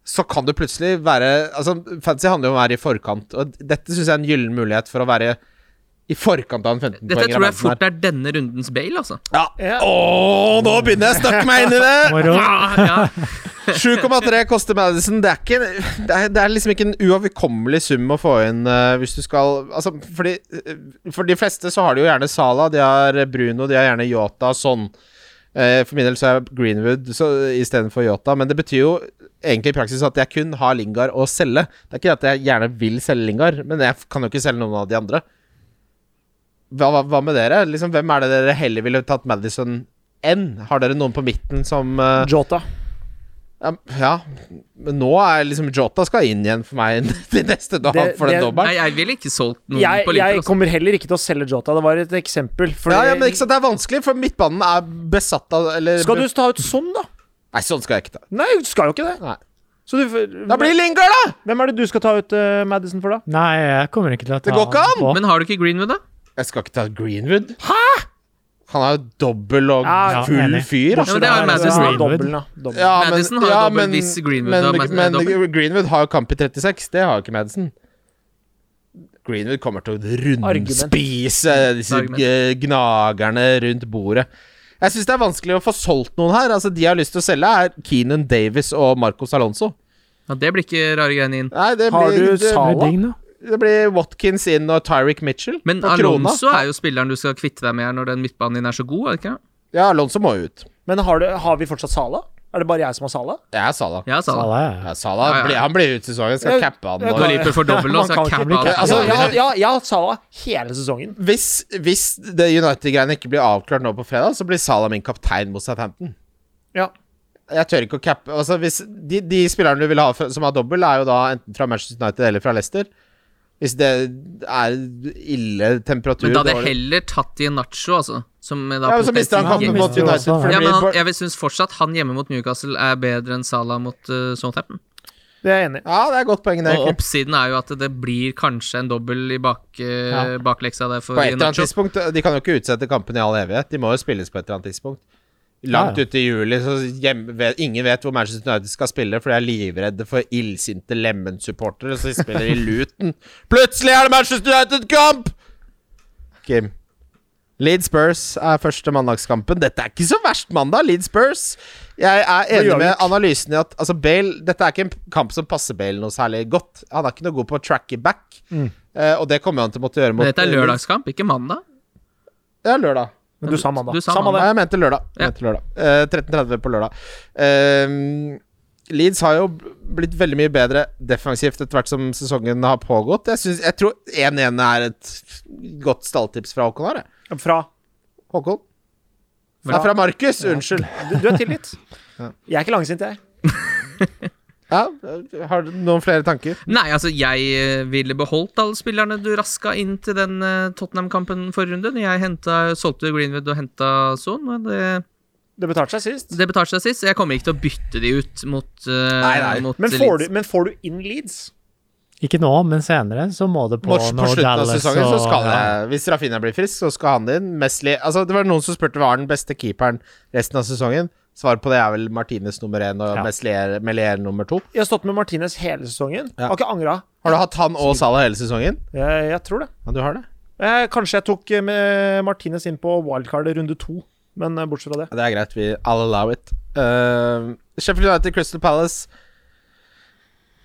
så kan du plutselig være Altså, Fantasy handler jo om å være i forkant, og dette syns jeg er en gyllen mulighet for å være i forkant av en 15-poenger.
Dette tror jeg
av verden
fort er denne rundens Bale, altså.
her. Ja. Ååå, nå begynner jeg å snakke meg inn i det!
Moro.
Ah,
Ja, ja.
7,3 koster Madison. Det er, ikke, det, er, det er liksom ikke en uoverkommelig sum å få inn eh, hvis du skal Altså, fordi, eh, for de fleste så har de jo gjerne Sala, de har Bruno, de har gjerne Yota og sånn. Eh, for min del så er jeg Greenwood så, istedenfor Yota, men det betyr jo egentlig i praksis at jeg kun har Lingard å selge. Det er ikke det at jeg gjerne vil selge Lingard, men jeg kan jo ikke selge noen av de andre. Hva, hva, hva med dere? Liksom, hvem er det dere heller ville tatt Madison enn? Har dere noen på midten som eh,
Jota.
Ja, ja, men nå er liksom Jota skal inn igjen for meg til neste dag
Det-
for en
det-
dobbel.
Nei, jeg ville ikke solgt noen
Jeg,
på
jeg
Liverpool. altså.
kommer heller ikke til å selge Jota. Det var et eksempel. fordi-
Ja, ja, men ikke sant, Det er vanskelig, for midtbanen er besatt av eller,
Skal du ta ut sånn, da?
Nei, sånn skal jeg ikke ta.
Nei, du skal jo ikke det.
Nei.
Så du, får-
Da blir det Lingard, da!
hvem er det du skal ta ut eh, Madison for, da?
Nei, jeg kommer ikke til å
Det
ta
går ikke an!
på.
Men har du ikke Greenwood, da?
Jeg skal ikke ta Greenwood. Hæ?! Han er jo dobbel og
Ja,
full
enig.
fyr.
men det er jo Madison.
Ja, dobbel, da. Dobbel.
Ja, men,
Madison har jo
ja,
dobbel
men,
hvis Greenwood
men,
har Madison-
men,
er dobbel.
Greenwood har jo kamp i 36. Det har jo ikke Madison. Greenwood kommer til å rundspise disse
Argument.
eh, gnagerne rundt bordet. Jeg syns det er vanskelig å få solgt noen her. Altså, De jeg har lyst til å selge, er Keenan Davis og Marcos Alonso.
Ja, det blir ikke rare greiene inn.
Nei, det
Har
blir,
du
det,
Sala?
Det blir digg, da.
det blir Watkins inn og Tyric Mitchell.
Men
på krona.
Alonso er jo spilleren du skal kvitte deg med her når den midtbanen din er så god, er det ikke? det?
Ja, Alonso må jo ut.
Men har, du, har vi fortsatt Sala? Er det bare jeg som har Sala?
Jeg er Sala.
Ja, sa han.
Sala, ja.
Ja, Sala
Ja, ja.
blir, han blir ut sesongen. Skal
Jeg-
cappe han
jeg
nå.
Når Liverpool får dobbel nå,
Man
så er
kan ikke
cap
bli
av.
kvitt-
alt.
Altså,
ja, ja, ja, jeg har hatt Sala hele sesongen.
Hvis, hvis det United-greiene ikke blir avklart nå på fredag, så blir Salah min kaptein mot Southampton.
Ja.
Jeg tør ikke å cappe altså, hvis de, de spillerne du vil ha fra- som har dobbel, er jo da enten fra Manchester United eller fra Leicester. Hvis det er ille temperatur
Men da hadde jeg
dårlig-
heller tatt i en nacho, altså. Som da
Ja, men så mister han
potensielt-
kampen
Ja,
mot
mister jo
United.
også,
For det
Ja, men han,
blir-
jeg syns fortsatt han hjemme mot Newcastle er bedre enn Salah mot uh, Southampton.
Det er jeg enig i.
ja, det er et godt poeng. det,
Og
egentlig.
oppsiden er jo at det blir kanskje en dobbel i bak, eh, bakleksa der for
På et eller annet
Nacho.
tidspunkt eh, De kan jo ikke utsette kampen i all evighet. De må jo spilles på et eller annet tidspunkt. Langt
Ja, ja.
ute i juli, så hjem, vet, ingen vet hvor Manchester United skal spille, for de er livredde for illsinte Lemen-supportere, så de spiller i Luton. Plutselig er det Manchester United-kamp! Kim. Leeds Spurs er første mandagskampen. Dette er ikke så verst mandag, Leeds Spurs. Jeg er enig med analysen i at altså Bale, dette er ikke en kamp som passer Bale noe særlig godt. Han er ikke noe god på å tracke back, eh, og det kommer han til å måtte gjøre mot
Mm. Men dette er
eh,
lørdagskamp, ikke mandag.
ja, lørdag.
Men du sa mandag.
Du sa
Samme
mandag.
Nei, jeg mente lørdag. Jeg
Ja.
mente lørdag. Eh, 13.30 på lørdag. Ehm, Leeds har jo blitt veldig mye bedre defensivt etter hvert som sesongen har pågått. Jeg, synes, jeg tror 1-1 er et godt stalltips fra Håkon her. jeg.
det. Fra
Håkon?
Fra-
Ja, fra Markus. Unnskyld.
Du, du er tilgitt. Jeg er ikke langsint, jeg.
Ja, har du noen flere tanker?
Nei, altså, jeg eh, ville beholdt alle spillerne du raska inn til den eh, Tottenham-kampen forrige runde. Når jeg henta, solgte Greenwood og henta Son. men Det,
Det betalte seg sist.
det betalte seg sist. så Jeg kommer ikke til å bytte de ut mot, eh,
Nei, nei.
mot
Men får,
Leeds.
du, men får du inn Leeds?
Ikke nå, men senere så må det på
Mot- på
noe
slutten av
Dallas
sesongen så
og-
skal
Ja.
jeg Hvis Rafinha blir frisk, så skal han inn. Mesli altså, Det var noen som spurte hva er den beste keeperen resten av sesongen. Svaret på det er vel Martinez nummer én og
Ja.
Meslier, Melier nummer to.
Jeg har stått med Martinez hele sesongen.
Ja.
Har ikke angra.
Har du hatt han og Salah hele sesongen?
Jeg, jeg tror det.
Ja, du har det?
Eh, kanskje jeg tok eh, med Martinez inn på wildcard i runde to, men eh, bortsett fra det.
Ja, det er greit. Vi I'll allow it. Uh, Sheffield United, Crystal Palace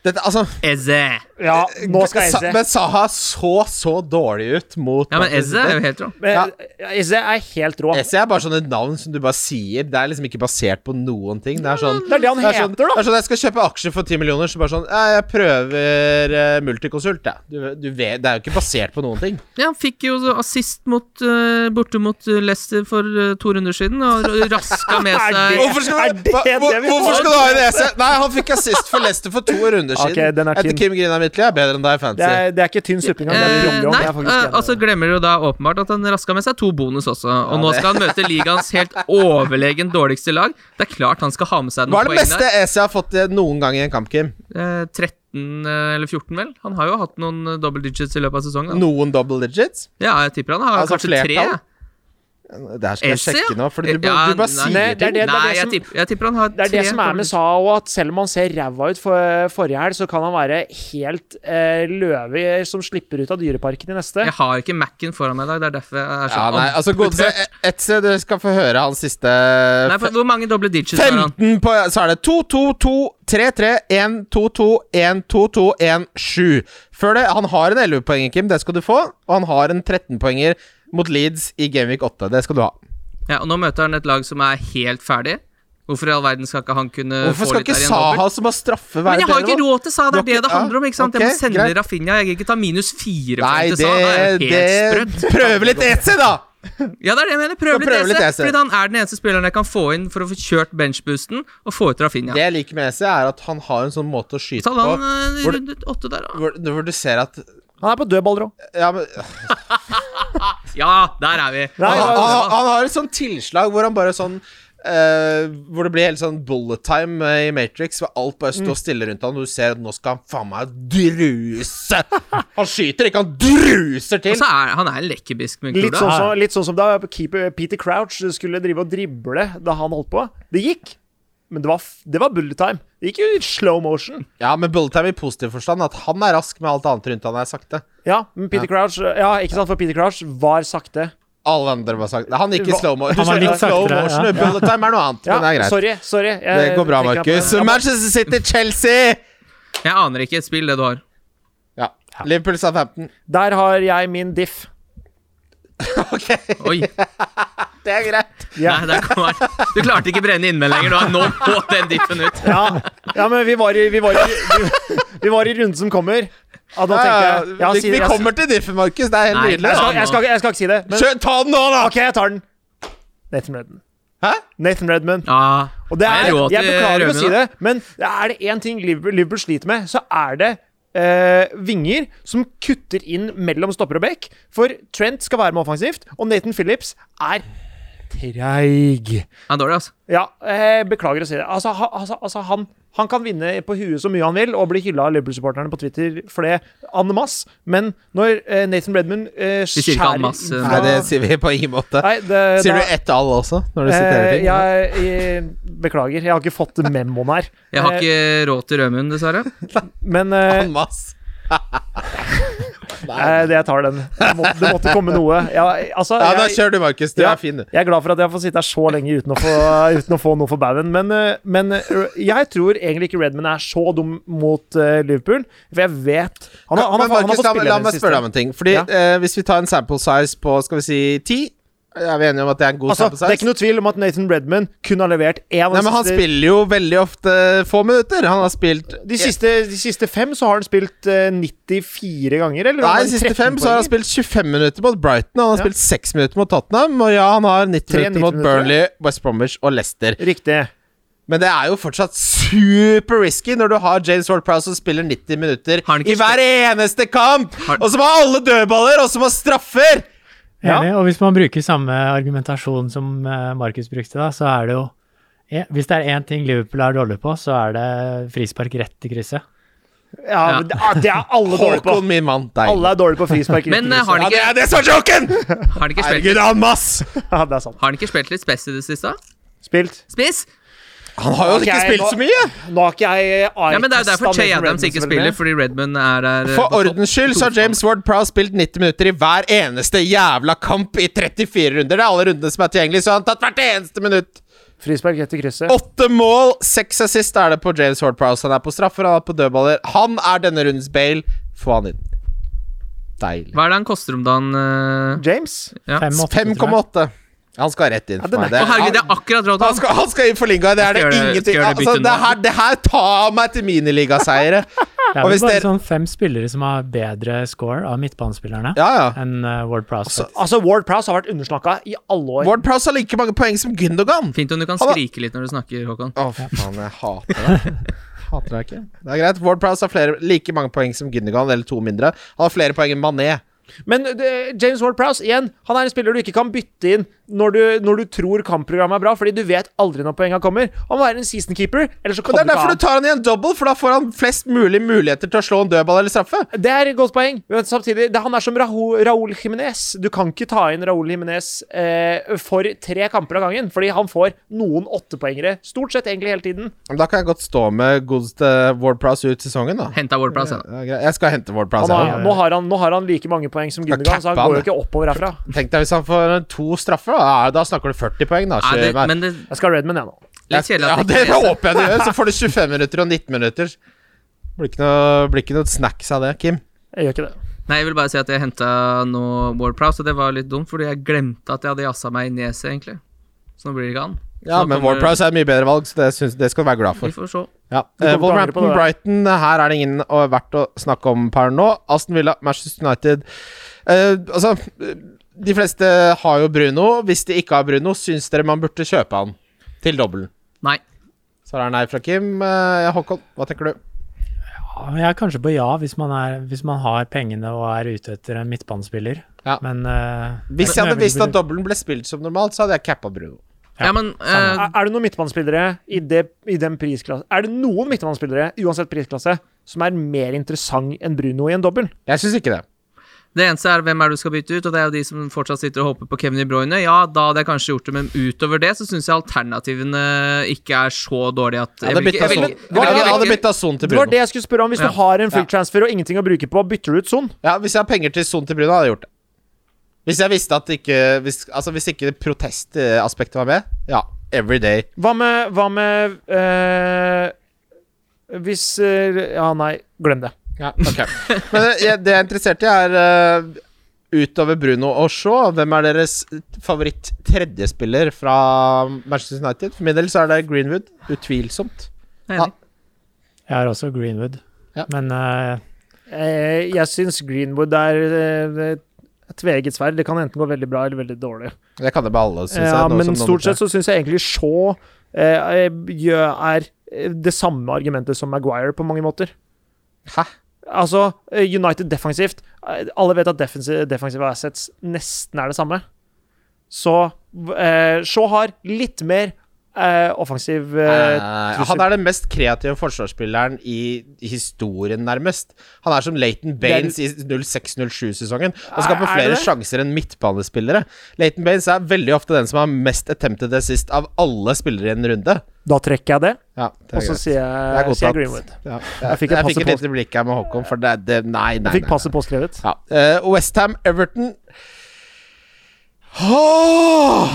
Dette, altså
Eze.
Ja, Eh, nå skal jeg
Sa-
se.
Men Saha så så dårlig ut mot
Ja, men Eze er jo helt rå.
Men, eh, Eze er helt rå.
Eze er bare sånne navn som du bare sier. Det er liksom ikke basert på noen ting. Det er sånn
Det er det han
det er sånn,
heter,
det
da.
er sånn Jeg skal kjøpe aksjer for 10 millioner, så bare sånn ja, Jeg prøver eh, Multiconsult, jeg. Du, du vet, det er jo ikke basert på noen ting.
Ja, han fikk jo assist mot, eh, borte mot Leicester for eh, to runder siden, og r- raska med
Er
seg
det- Hvorfor skal du- Er det hva- det hvor- vi får? hvorfor skal du
ha en Eze? Nei, han fikk assist for Leicester for to runder
Ok, siden. den er Etter tynn.
Etter Kim Grina Midtly er bedre enn deg, fancy.
Det er, det er ikke tynn suppe engang. Det er
Eh,
bromljom.
nei,
Jeg er faktisk
eh,
enig.
og så glemmer du da åpenbart at han raska med seg to bonus også. Og nå skal han møte ligaens helt overlegen dårligste lag. Det er klart han skal ha med seg
Hva
noen
er det
poeng
beste
der.
Eze har fått eh, noen gang i en kamp, Kim?
Eh, 13 eh, eller 14, vel. Han har jo hatt noen eh, double digits i løpet av sesongen. da.
Noen double digits?
Ja, jeg tipper han har
Altså,
kanskje
flertall?
tre. jeg.
Det her skal jeg
Eze,
sjekke
ja.
nå, for du, ba-
Ja,
du bare
nei.
sier ting.
Nei, det er det, det, er
Nei,
det
jeg
som
tipper, jeg tipper han har
Det er det
tre
som er med
double-
Saha òg, at selv om han ser ræva ut for forrige helg, så kan han være helt eh, løve som slipper ut av Dyreparken i neste.
Jeg har ikke Mac-en foran meg i dag, det er derfor jeg
Ja,
er sånn
nei, altså, godeste Eze, du skal få høre hans siste
Nei, for Hvor mange doble digits har han?
15 på Så er det 2-2-2-3-3-1-2-2-1-2-2-1-7. Før det Han har en 11-poenger, Kim. Det skal du få. Og han har en 13-poenger mot Leeds i Gameweek 8. Det skal du ha.
Ja, og Nå møter han et lag som er helt ferdig. Hvorfor i all verden skal ikke han kunne
Hvorfor
Eh, få
skal
litt
ikke
der i en
Saha,
dobbelt?
som har straffe,
Men
være
jeg har
bedre
ikke
nå?
råd til Saha, det
Du har
er det
ikke-
det handler om. ikke sant?
ok,
jeg må sende
greit.
Rafinha, jeg gidder ikke ta minus fire
Nei,
poeng
det,
til Saha. Det er jo helt
det
sprøtt.
Prøve litt EC, da!
Ja, det er det jeg mener. Prøv
Skal
litt
prøve
EC.
litt EC.
Fordi han er den eneste spilleren jeg kan få inn for å få kjørt benchboosten og få ut Rafinha.
Det jeg liker med Eze, er at han har en sånn måte å skyte
Så hadde han
på
eh, i
Hvor-
runde åtte der, da.
hvor, hvor du ser at
Han er på dødballer òg.
ja, men,
Ja, der er vi.
Nei,
han,
ja,
han, han har et sånt tilslag hvor han bare sånn eh, hvor det blir helt sånn bullet time eh, i Matrix, hvor alt bare står stille rundt han og du ser at nå skal han faen meg druse! Han skyter ikke, han druser
Og
til!
så er han er en lekkerbisk med en
Litt,
kule.
sånn som- litt sånn som da keeper Peter Crouch skulle drive og drible da han holdt på. Det gikk, men det var, f- det var bullet time. Det gikk jo i slow motion.
Ja, men bullet time i positiv forstand, at han er rask, men alt annet rundt han er sakte.
Ja, men Peter Crouch eh, Ja, ikke sant, for Peter Crouch var sakte.
Alle andre var sakte. Han gikk i
Hva-
slow motion.
Han var litt
slow
saktere,
motion.
ja.
Bullet time er noe annet,
Ja,
men det er greit.
sorry. sorry jeg,
Det går bra,
tenker at-
Markus.
Ja,
Manchester City, Chelsea!
Jeg aner ikke. Spill det du har.
Ja. Liverpool Southampton.
Der har jeg min diff.
OK,
Oi.
det er greit.
Ja.
Nei, der kom han. Du klarte ikke brenne innmeldinger. Du har nå på den diffen ut.
Ja, ja men vi var, i, vi, var i, vi, vi var i runden som kommer. Ja, da tenker jeg,
Ja,
jeg,
Ah, vi, vi
jeg, jeg,
kommer til diffen, Markus. Det er helt
Nei,
nydelig.
det er
skal, jeg, skal, jeg skal ikke si det. Men,
Kjør, ta den nå, da!
OK, jeg tar den. Nathan Redman.
Hæ?
Nathan Redman.
Ja.
Og det er,
Jeg råd til
jeg beklager å
Rømme, da.
si det, men er det én ting Liverpool, Liverpool sliter med, så er det eh, vinger som kutter inn mellom stopper og bekk. For Trent skal være med offensivt, og Nathan Phillips er treig.
Han er dårlig, altså.
Ja, eh, beklager å si det. Altså, ha, altså, altså han, han kan vinne på huet så mye han vil og bli hylla av Liverpool-supporterne på Twitter for det en masse, men når eh, Nathan Redman eh,
sier ikke en masse,
inn
Nei,
fra-
det sier vi på ingen måte.
Nei, det,
Sier
da-
du ett all også, når du siterer
Eh,
ting?
jeg, jeg, beklager, jeg har ikke fått memoen her.
Jeg har
Eh,
ikke råd til Rødmund, dessverre.
Men eh,
En masse.
eh, det, jeg tar den. Det måtte, det måtte komme noe. Ja, altså,
Ja, da
jeg,
kjør du, Markus. Du
Ja.
er fin, du.
jeg er glad for at jeg får sitte her så lenge uten å få, uten å få noe for baugen. Men, eh, men eh, jeg tror egentlig ikke Redman er så dum mot eh, Liverpool, for jeg vet Han har, han
Men
har, han har
Markus,
fått
la, meg-
spille
la
den
meg
siste.
spørre deg om en ting. Fordi
Ja.
eh, Hvis vi tar en sample size på skal vi si 10 Er vi enige om at det er en god
Altså,
sample
det er
size?
ikke Altså, noe tvil om at Nathan Redman kun har levert én av
Nei, men Han
siste-
spiller jo veldig ofte få minutter. Han har spilt
de siste, de siste fem så har han spilt eh, 94 ganger,
Nei,
eller? Han
de
har
siste
13
fem så har han
poenger.
spilt 25 minutter mot Brighton, og han har
Ja.
spilt 6 minutter mot Tottenham, og ja, han har 90
Tre
minutter
90
mot
minutter.
Burnley, West Bromwich og Leicester.
Riktig.
Men det er jo fortsatt super risky når du har James Ward-Prowse som spiller 90 minutter
Har han ikke
i hver eneste kamp,
Har-
og som har alle dødballer, og som har straffer!
Ja.
Enig. Og hvis man bruker samme argumentasjon som eh, Markus brukte, da, så er det jo eh, Hvis det er én ting Liverpool er dårlig på, så er det frispark rett i krysset.
Ja,
Ja.
men Det, ah, det er alle dårlige på.
Håkon, min mann, deg.
Alle er dårlige på frispark.
Men eh,
riktig,
har
Ja,
han
det
ikke,
er det som er joken!
har han ikke, spilt,
Herregud, han mass!
så- Ja, det er sant.
har han ikke spilt litt spess i det siste? da?
Spilt.
Spiss?
Han har jo
Ok,
ikke
nå-
spilt så mye!
Nå har ikke jeg
Ja, men Det er jo derfor Che Adams ikke spiller, fordi Redmond er der. eh, på
For
topp.
ordens skyld så har James Ward-Prowse spilt 90 minutter i hver eneste jævla kamp i 34 runder. Det er alle rundene som er tilgjengelige, så han har tatt hvert eneste minutt.
Frispark etter krysset.
Åtte mål, seks assist er det på James Ward-Prowse. Han er på straffer, han er på dødballer. Han er denne rundens Bale. Få han inn. Deilig.
Hva er det han koster om dagen? eh?
James?
5,8,
Ja.
tror jeg.
5,8. Han skal rett inn
Ja,
for
den er
meg.
Å,
Det,
herregud, det
han,
er akkurat råd
han,
til han!
skal, han skal inn for Lingard. Det er det
Skal gjøre-
ingenting
skal gjøre det
altså,
bytte
det,
nå.
her, det her tar meg til miniligaseiere.
Det er
Og
vel
hvis
bare
dere-
sånn fem spillere som har bedre score av midtbanespillerne
Ja, ja.
enn eh, Ward Prowse.
Altså, Ward Prowse har vært undersnakka i alle år.
Ward-Prowse har like mange poeng som Gündogan.
Fint om du kan
Han har-
skrike litt når du snakker, Håkon.
Å, fy faen, jeg hater deg. Hater deg ikke. Det er greit. Ward Prowse har flere, like mange poeng som Gündogan, eller to mindre. Han har flere poeng enn Mané.
Men det, James Ward Prowse, igjen, han er en spiller du ikke kan bytte inn når du, når du tror kampprogrammet er bra, fordi du vet aldri når poengene kommer. Han må være en season keeper, eller så
Og Det
kommer
er
du ikke
derfor du
av.
tar han i en double, for da får han flest mulig muligheter til å slå en dødball eller straffe.
Det er et godt poeng, men samtidig det, Han er som Raul, Raul Jimenez. Du kan ikke ta inn Raul Jimenez eh, for tre kamper av gangen, fordi han får noen åttepoengere stort sett egentlig hele tiden.
Men Da kan jeg godt stå med godeste Ward Prowse ut sesongen, da.
Henta Wordplass, ja.
Det er greit. Jeg skal hente Ward Prowse.
Han
jeg,
har, nå, har han, nå har han like mange poeng som Gündogan, så han
cappa han,
går jo ikke oppover herfra.
da. Tenk deg hvis han får to straffer, da. Ja, Da snakker du 40 poeng, da.
Nei, det,
Kjør meg.
men det
Jeg skal ha Redman, jeg nå.
litt
Jeg-
kjedelig
ja,
at
det
ikke
håper jeg du gjør. Så får du 25 minutter og 19 minutter. Blir ikke noe, blir ikke noe snacks av det, Kim.
Jeg gjør ikke det.
Nei, jeg vil bare si at jeg henta nå Wordprouse, og det var litt dumt, fordi jeg glemte at jeg hadde jassa meg i neset, egentlig. Så nå blir det ikke han. Så
Ja,
nå
men
kommer-
Ward Prowse er et mye bedre valg, så det, syns- det skal du være glad for.
Vi får se.
Ja.
Du kommer
Eh,
til å angre på
Wolverhampton,
det.
Brighton, her er det ingen å- verdt å snakke om per nå. Aston Villa, Manchester United eh, Altså, eh, de fleste har jo Bruno. Hvis de ikke har Bruno, syns dere man burde kjøpe han til dobbelen?
Nei.
Svaret er nei fra Kim. Eh, Håkon, hva tenker du?
Ja, Ah, jeg er kanskje på ja hvis man, er, hvis man har pengene og er ute etter en midtbanespiller.
Ja.
Men eh,
Hvis jeg
men
hadde visst
vil-
at dobbelen ble spilt som normalt, så hadde jeg cappa Bruno.
Ja, men eh,
Er er det noen midtbanespillere i, det, i den prisklassen Er det noen midtbanespillere, uansett prisklasse, som er mer interessant enn Bruno i en dobbel?
Jeg syns ikke det.
Det eneste er hvem er det du skal bytte ut, og det er jo de som fortsatt sitter og håper på Kevin De Bruyne. Ja, da hadde jeg kanskje gjort det, men utover det så syns jeg alternativene ikke er så dårlige
Jeg
at
sånn. hadde
ikke-
bytta
vil
Son- Jeg
ikke-
hadde- jeg
jeg vil
hadde
ikke-
bytta Son til
Det var
Bruno.
det jeg skulle spørre om. Hvis
Ja.
du har en
Ja.
full transfer og ingenting å bruke på, bytter du ut Son?
Ja, hvis jeg har penger til Son til Bruno, hadde jeg gjort det. Hvis jeg visste at ikke Hvis, altså, hvis ikke protestaspektet var med, ja. Every day.
Hva med, hva med eh, Hvis eh, Ja, nei, glem det.
Ja, ok. Men eh, jeg, det jeg er interessert i, er eh, utover Bruno og Shaw, hvem er deres favoritt-tredjespiller fra Manchester United? For min del så er det Greenwood. Utvilsomt.
Jeg er enig.
Jeg har også Greenwood.
Ja.
Men eh,
Eh, jeg syns Greenwood er eh, et tveegget sverd. Det kan enten gå veldig bra eller veldig dårlig.
Det kan det beholde, syns jeg.
Ja,
nå
men
som nummer
stort sett så syns jeg egentlig Shaw eh, gjør- er eh, det samme argumentet som Maguire på mange måter.
tre. Hæ?
Altså, eh, United defensivt eh, Alle vet at defensive, defensive assets nesten er det samme. Så eh, Shaw har litt mer eh, offensiv eh,
Eh,
trussel.
han er den mest kreative forsvarsspilleren i historien, nærmest. Han er som Leighton Baines i 06-07-sesongen og skaper
Er- er
flere
det det?
sjanser enn midtbanespillere. Leighton Baines er veldig ofte den som har mest attempted assist av alle spillere i en runde.
Da trekker jeg det,
Ja, det
og så
Det
sier
er
jeg,
godtatt.
sier jeg Greenwood.
Ja.
Jeg fikk et
jeg fikk
passe
et lite blikk her med Håkon, for det, det Nei, nei.
Jeg fikk
nei.
passet påskrevet.
Ja. Eh, West Ham, Everton Åh!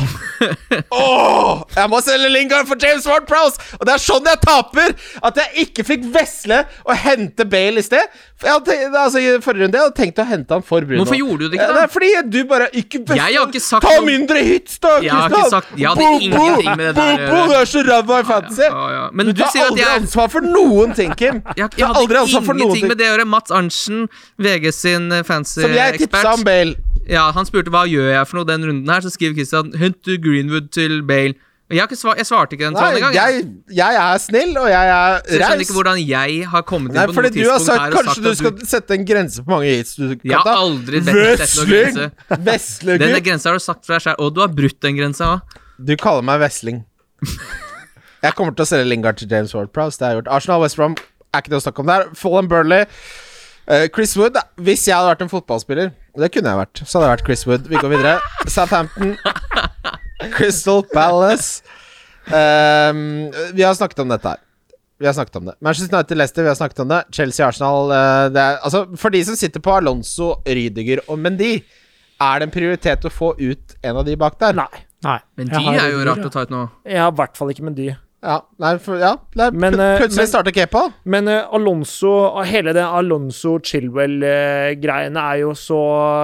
Åh! Jeg må selge Lingard for James Ward Prowse! Og det er sånn jeg taper! At jeg ikke fikk vesle og hente Bale i sted. For jeg hadde, tenkt- altså, I forrige runde jeg hadde tenkt å hente han for Bruno.
Hvorfor gjorde du det ikke,
Eh,
da?
Nei, fordi du bare ikke vesle.
Jeg har ikke sagt
Ta
noe-
mindre hits, da!
Jeg har ikke
Kristian!
sagt- jeg hadde
Bo, bo,
ingenting med det der å
bo, bo,
gjøre.
Du er så ræva i fantasy!
ja, ja. Men du
tar
sier at
aldri
jeg er-
ansvar for noen ting, Kim.
Jeg,
Du
jeg
tar
hadde
aldri ansvar for noen
ingenting
ting.
med det å gjøre. Mats Arntzen, VG sin eh, fancy
Som jeg tipsa om
ekspert,
Bale.
ja, han spurte hva gjør jeg for noe den runden her, så skriver Christian hent du Greenwood til Bale. Og Jeg, har ikke svar, jeg svarte ikke den tråden
Nei,
engang.
jeg, jeg er snill, og jeg
Så jeg
er
skjønner
raus.
ikke hvordan jeg har kommet inn
Nei,
på noe
fordi du har
tidspunkt her
sagt
og
kanskje
sagt
du
at
skal sette en grense på mange hits du
Jeg
kan
har
ta.
aldri sett sett noen
Vesling!
grense.
Vesle,
Den
gutt.
grensa har du sagt fra deg selv, og du har brutt den grensa òg.
Du kaller meg Vesling. Jeg kommer til å selge Lingard til James Ward-Prowse. Det har jeg gjort. Arsenal West Brom er ikke det å snakke om der. Fallen Burnley. Eh, Chris Wood Hvis jeg hadde vært en fotballspiller, og det kunne jeg vært, så hadde jeg vært Chris Wood. Vi går videre. Southampton. Crystal Palace. Ehm, vi har snakket om dette her. Vi har snakket om det. Manchester United Leicester, vi har snakket om det. Chelsea Arsenal eh, det er, altså, For de som sitter på Alonso, Rydiger og Mendy, er det en prioritet å få ut en av de bak der?
Nei.
nei.
Men
jeg
de
har
er jo
Rydiger,
rart
ja.
å ta ut nå.
Jeg har i hvert fall ikke Mendy.
Ja, nei, for, ja nei,
Men,
pl
eh,
plutselig
men-
starter Kepa.
Men eh, Alonso, hele det Alonso-Chilwell-greiene er jo så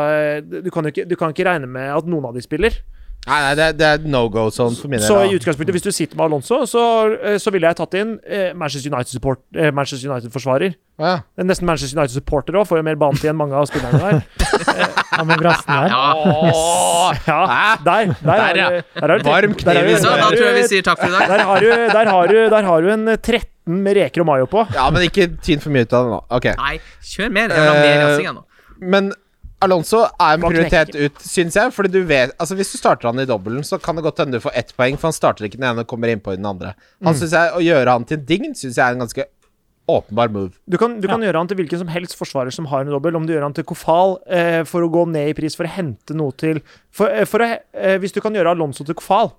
eh, Du kan jo ikke, du kan ikke regne med at noen av de spiller.
Nei, nei, det, det er no go sånn for min del.
Så
da.
i utgangspunktet, hvis du sitter med Alonso, så, eh, så ville jeg tatt inn eh, Manchester United-support, eh, Manchester United-forsvarer.
ja.
Det er Nesten Manchester United-supporter òg, får jo mer banetid enn mange av spillerne der.
Han med brassen der.
Ja.
Ja, der, der,
Ah, Der, ja.
er det- der er det-
Varm
der
kniv
er
i siden.
Så
det-
da
der er det-
tror jeg vi sier takk for i dag.
Der har du, der har du, der har du en eh, 13 med reker og mayo på.
ja, men ikke tyn for mye ut av det nå. Ok.
Nei, kjør mer. Jeg vil ha mer jazzing, jeg nå.
Men Alonso er en
Bare
prioritet
knekke.
ut, syns jeg. Fordi du vet Altså Hvis du starter han i dobbelen, så kan det godt hende du får ett poeng, for han starter ikke den ene og kommer inn på den andre. Han synes jeg Å gjøre han til en dign syns jeg er en ganske åpenbar move.
Du kan, du kan gjøre han til hvilken som helst forsvarer som har en dobbel. Om du gjør han til Kofal eh, for å gå ned i pris for å hente noe til for, eh, for å, he- eh, Hvis du kan gjøre Alonso til Kofal,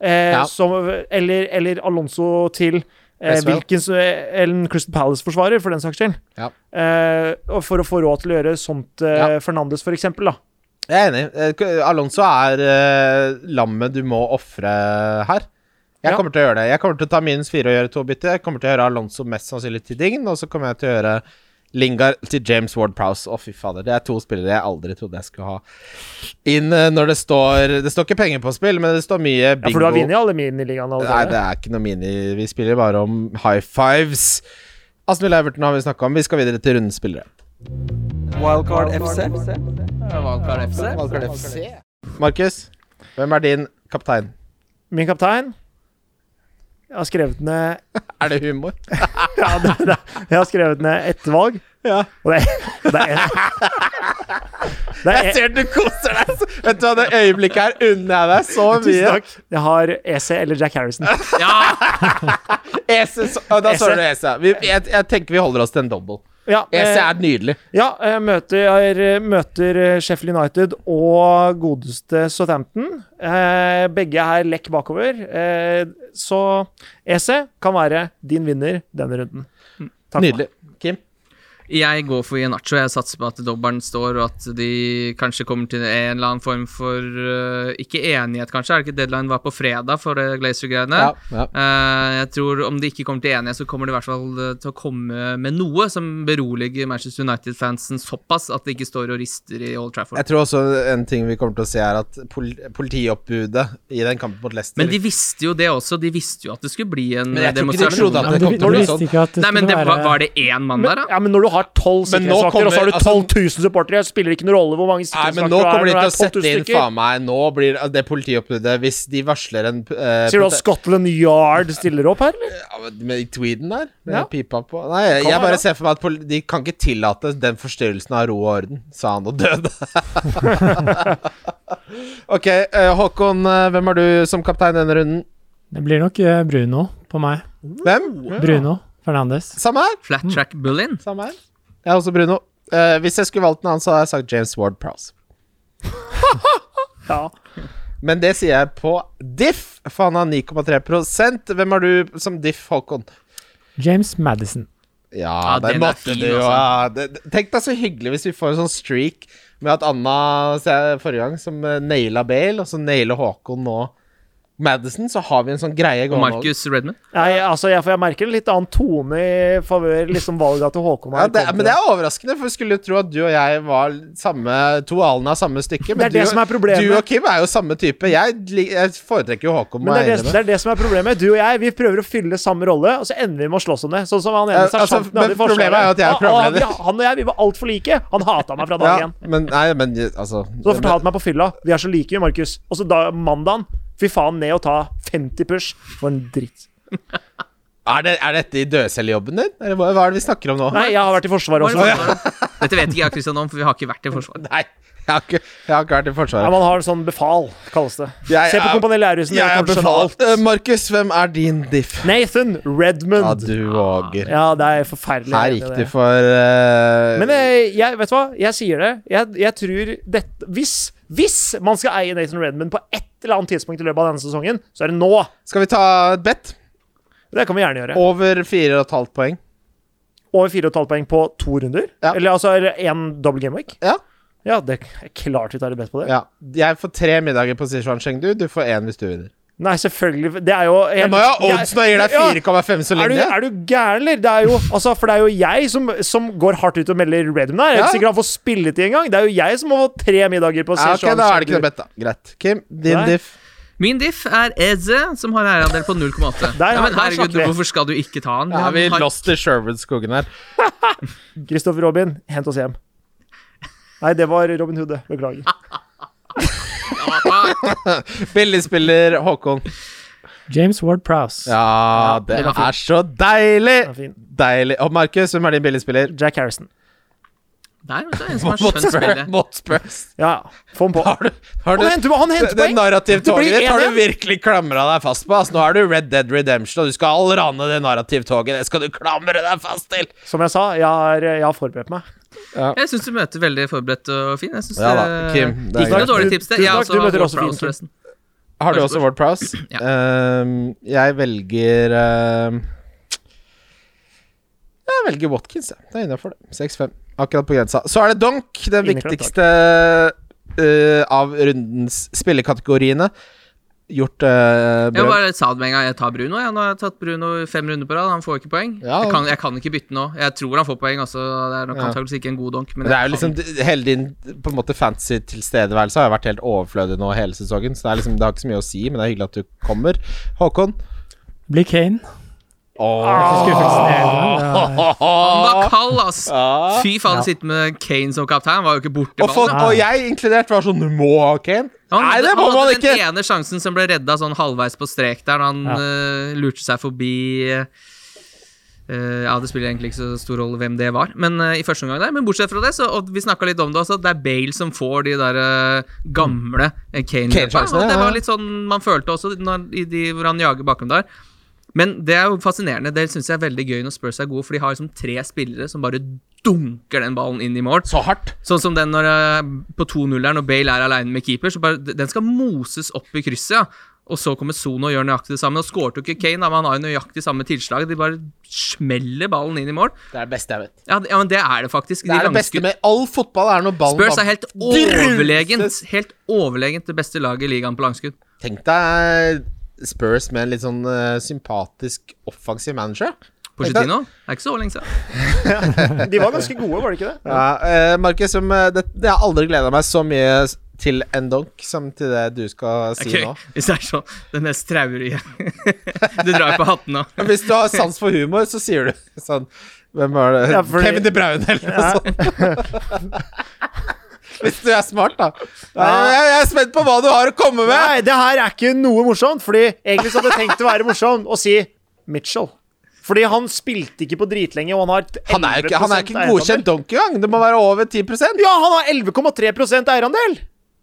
eh,
Ja.
som, eller, eller Alonso til eh,
Cresswell.
hvilken som- eh, en Crystal Palace-forsvarer, for den saks skyld.
Ja.
Eh, og for å få råd til å gjøre sånt eh, Fernandes, for eksempel. Da.
Jeg er enig. Eh, Alonso er eh, lammet du må ofre her. Jeg
Ja.
kommer til å gjøre det. Jeg kommer til å ta minus fire og gjøre to bytte. Jeg kommer til å gjøre Alonso mest sannsynlig til Dign, og så kommer jeg til å gjøre Lingard til James Ward-Prowse. Å, fy fader. Det er to spillere jeg aldri trodde jeg skulle ha inn eh, når det står Det står ikke penger på spill, men det står mye
Ja,
bingo.
for du har vunnet alle miniligaene
Nei, det
allerede.
er ikke noe mini. Vi spiller bare om high fives. Asmund Leiverton har vi snakka om. Vi skal videre til rundens spillere.
Wildcard FC.
Valgkart FC.
Markus, hvem er din kaptein?
Min kaptein Jeg har skrevet ned
Er det humor?
ja, det, det, Jeg har skrevet ned ett valg.
Ja.
Og det, det er ett. Det er
Jeg ser du koser deg! så- Vet du hva, det øyeblikket her unner jeg deg så
Tusen
mye.
takk. Jeg har EC eller Jack Harrison.
Ja,
Ese, så, å, da
Ese.
svarer du Ese. Vi, jeg, jeg tenker vi holder oss til en double.
Ja,
Ese
eh,
E er nydelig.
ja jeg møter, jeg møter eh, Sheffield United og godeste Southampton. Eh, begge er lekk bakover. Eh, så EC kan være din vinner denne runden.
Mm.
Takk.
Nydelig. Kim?
jeg går for Ienacho. Jeg satser på at dobbelen står, og at de kanskje kommer til en eller annen form for øh, Ikke enighet, kanskje. Er det ikke deadline var på fredag for det Glazer-greiene?
Ja, ja.
Eh, jeg tror Om de ikke kommer til enighet, så kommer de i hvert fall eh, til å komme med noe som beroliger Manchester United-fansen såpass at de ikke står og rister i Old Trafford.
Jeg tror også en ting vi kommer til å se, er at pol politioppbudet i den kampen mot Leicester
Men de visste jo det også. De visste jo at det skulle bli en
Men jeg tror ikke de
demonstrasjon.
trodde at det
Men du,
kom
du
til å bli
visste
sånn.
ikke at det
Nei, men
skulle
det, var,
være
var det én mann
Men,
der, da?
ja, men når du har tolv
Men nå
sikkerhetsvakter, og så har du
kommer- altså-
12 000 supportere, spiller det ikke noen rolle hvor
Nei,
mange sikkerhetsvakter
men nå
du har
kommer de til
når
å
det er 12
sette
000
inn
stykker.
faen meg Nå blir det politioppbudet Hvis de varsler en eh,
Sier du at
prote-
Scotland Yard stiller opp her, eller?
Ja, men Med tweeden der? Med
Ja.
pipa på Nei, jeg,
Kan
jeg
være, da.
bare ser for meg at poli de kan ikke tillate den forstyrrelsen av ro og orden, sa han og døde. ok, eh, Håkon, eh, hvem er du som kaptein denne runden?
Det blir nok eh, Bruno på meg.
Hvem?
Bruno Fernandes.
Samme her.
Flat track Bullin?
Samme her. Jeg er også Bruno. Eh, hvis jeg skulle valgt en annen, så hadde jeg sagt James Ward Prowse.
Ja.
Men det sier jeg på diff, for han har 9,3 Hvem er du som diff, Håkon?
James Madison.
Ja,
Ja,
det
den er
måtte
fin,
du jo
altså.
ja, det- det- Tenk deg så hyggelig hvis vi får en sånn streak med at Anna se, forrige gang som eh, naila Bale, og så nailer Håkon nå Madison, så har vi en sånn greie
Og
gående.
Marcus Redman?
Nei, altså, jeg, for jeg merker en litt annen tone i favør liksom valget til Håkon. her
Ja, det,
kontra-
men det er overraskende, for vi skulle jo tro at du og jeg var samme, to alen av samme stykke. Men
Det er det
du,
som er problemet.
du og Kim er jo samme type. Jeg, lik- jeg foretrekker jo Håkon. må
Men
jeg
det er det,
innrømme.
det er det som er problemet. Du og jeg vi prøver å fylle samme rolle, og så ender vi med å slåss om det. Sånn som han ene
Ja, altså,
sersjanten
men
hadde i Forsvaret.
problemet er jo at jeg er
Ah, ah,
programleder.
vi- Han og jeg vi var altfor like. Han hata meg fra dag
ja,
én.
men, nei, men altså
Så fortalte han meg på fylla Vi er så like, vi, Markus. Og så da mandagen Fy faen, ned og ta 50 push. For en dritt.
er, det, er dette i dødcelljobben din? Eller hva, hva er det vi snakker om nå?
Nei, jeg har vært i
Hva
Forsvaret
er det for
også. Ja,
noe? Dette vet ikke jeg og Christian om, for vi har ikke vært i Forsvaret.
Nei, jeg har ikke, jeg har ikke vært i Forsvaret.
Man har en sånn befal, kalles det.
Jeg
Se på
er-
Kompani Lauritzen.
Jeg
jeg
er
kan skjønne
befalt.
alt.
Eh, Markus, hvem er din diff?
Nathan
Ja,
Redmond.
du Åger.
Ja, det er forferdelig.
Her
enig i
gikk
det.
du for eh,
Men jeg, jeg, vet du hva? Jeg sier det. Jeg, jeg tror dette hvis, hvis man skal eie Nathan Redman på et eller annet tidspunkt i løpet av denne sesongen, så er det nå.
Skal vi ta et bet?
Det kan vi gjerne gjøre.
Over 4,5 poeng.
Over 4,5 poeng på to runder?
Ja.
Eller altså er det én double gameweek?
Ja.
Ja, det er klart vi tar det best på det.
ja. Jeg får tre middager på Sichuan Chengdu. Du får én hvis du vinner.
Nei, selvfølgelig. Det er jo
Jeg må jo ha odds når jeg gir
Ja,
deg 4,5 så
Er du,
lenge.
er du gæren, eller? Det er jo, altså, for det er jo jeg som, som går hardt ut og melder Redman her. Jeg er
Ja.
ikke sikker han får spilletid engang. Det er jo jeg som må få tre middager på
Ja, ok,
Sichuan
da er det ikke
Chengdu.
noe bet, da. Greit. Kim, din
Nei.
diff.
Min diff er Eze, som har en eierandel på 0,8.
Der
Ja,
har-
men
der
herregud,
snakker vi.
hvorfor skal du ikke ta han?
Ja,
Han
vi
har-
lost i Sherwood-skogen her.
Kristoffer Robin, hent oss hjem. Nei, det var Robin Hood, det. beklager.
Billigspiller Håkon.
James Ward Prowse.
Ja, det
den var fin.
er så deilig!
Den er fin.
Deilig. Og Markus, hvem er din billigspiller?
Jack Harrison.
Der, vet du, en som
Mot
har skjønt
Spurs.
spillet.
Mot Spurs.
Ja, ja. Få den på.
Har du, har du,
Han henter, han henter
det, det
poeng!
narrativtoget
Det blir
ditt har
en,
du virkelig klamra deg fast på. ass. nå er du Red Dead Redemption, og du skal rane det narrativtoget. Det skal du klamre deg fast til!
Som jeg sa, jeg har, jeg har forberedt meg.
Jeg syns du møter veldig forberedt og fin. Jeg synes eh,
Ja
det,
da, Kim, det er
ikke
greit.
noe dårlig tips. Det.
Tusen
Jeg også
takk, du
har
møter
Ward
også fin,
Prowse,
Kim.
forresten.
Har du
Spurs.
også Ward Prowse?
Ja.
Ehm, jeg velger ehm, Jeg velger Watkins, jeg. Det er innafor, det. 6-5. Akkurat på grensa. Så er det donk, den
Innenfor,
viktigste eh, av rundens spillekategoriene. Gjort uh,
Jeg bare sa det med en gang. Jeg tar Bruno. Jeg. Nå har jeg tatt Bruno i fem runder på rad. Han får ikke poeng.
Ja.
Jeg, kan, jeg kan ikke bytte nå. Jeg tror han får poeng også. Det er nok antakeligvis ikke en god donk. Men
Men det er jo
jeg kan-
liksom Hele din på en måte fantasy-tilstedeværelse har jo vært helt overflødig nå hele sesongen, så det, er liksom, det har ikke så mye å si, men det er hyggelig at du kommer. Håkon?
Blir Kane. Skuffelsen i hele det er-
Han var kald, ass!
Ah! Ja.
Fy
Ja.
faen, sitte med Kane som kaptein var jo ikke borte.
Og, folk,
ballen, da.
og jeg inkludert var sånn Du må ha Kane.
han
Nei,
hadde,
det må
han
man
hadde den
ikke!
ene sjansen som ble redda sånn halvveis på strek der, når han
Ja.
eh, lurte seg forbi eh, eh, Ja, det spiller egentlig ikke så stor rolle hvem det var, men eh, i første omgang der. Men bortsett fra det, så, og vi snakka litt om det også, at det er Bale som får de der eh, gamle eh, Kane-løpa.
Kane-sjansene,
og det
ja, ja.
var litt sånn man følte også når, i de, hvor han jager bakom der. Men det er jo fascinerende. Det syns jeg er veldig gøy når Spurs er gode, for de har liksom tre spillere som bare dunker den ballen inn i mål.
Så hardt.
Sånn som den når, eh, på 2-0 der, når Bale er aleine med keeper, så bare, den skal moses opp i krysset. ja. Og så kommer Sono og gjør nøyaktig det samme. Og skårte jo ikke Kane, da, men han har jo nøyaktig samme tilslag. De bare smeller ballen inn i mål.
Det er det beste jeg vet.
Ja, det- ja men det er det faktisk.
Det er det beste med all fotball, er når ballen
Spurs er
bare
helt overlegent Helt overlegent det beste laget i ligaen på langskudd.
Tenk deg Spurs med en litt sånn eh, sympatisk offensiv manager.
Pochettino, det er ikke så lenge siden.
De var ganske gode, var de ikke det?
Ja, eh, Markus, som, eh, det, det har aldri gleda meg så mye s- til en donk som til det du skal si
Ok,
nå.
Hvis det er sånn Det mest traurige Du drar på hatten nå.
Men Hvis du har sans for humor, så sier du sånn Hvem var det?
Ja, fordi-
Kevin De Bruyne, eller noe sånt. Hvis du er smart, da. Nei, jeg, jeg er spent på hva du har å komme med!
Nei, det her er ikke noe morsomt, fordi egentlig så hadde jeg tenkt å være morsom og si Mitchell. Fordi han spilte ikke på dritlenge, og han har et
Han er jo ikke, han er ikke
11%
en godkjent
eierandel.
donk engang. Det må være over 10
Ja, han har 11,3 eierandel!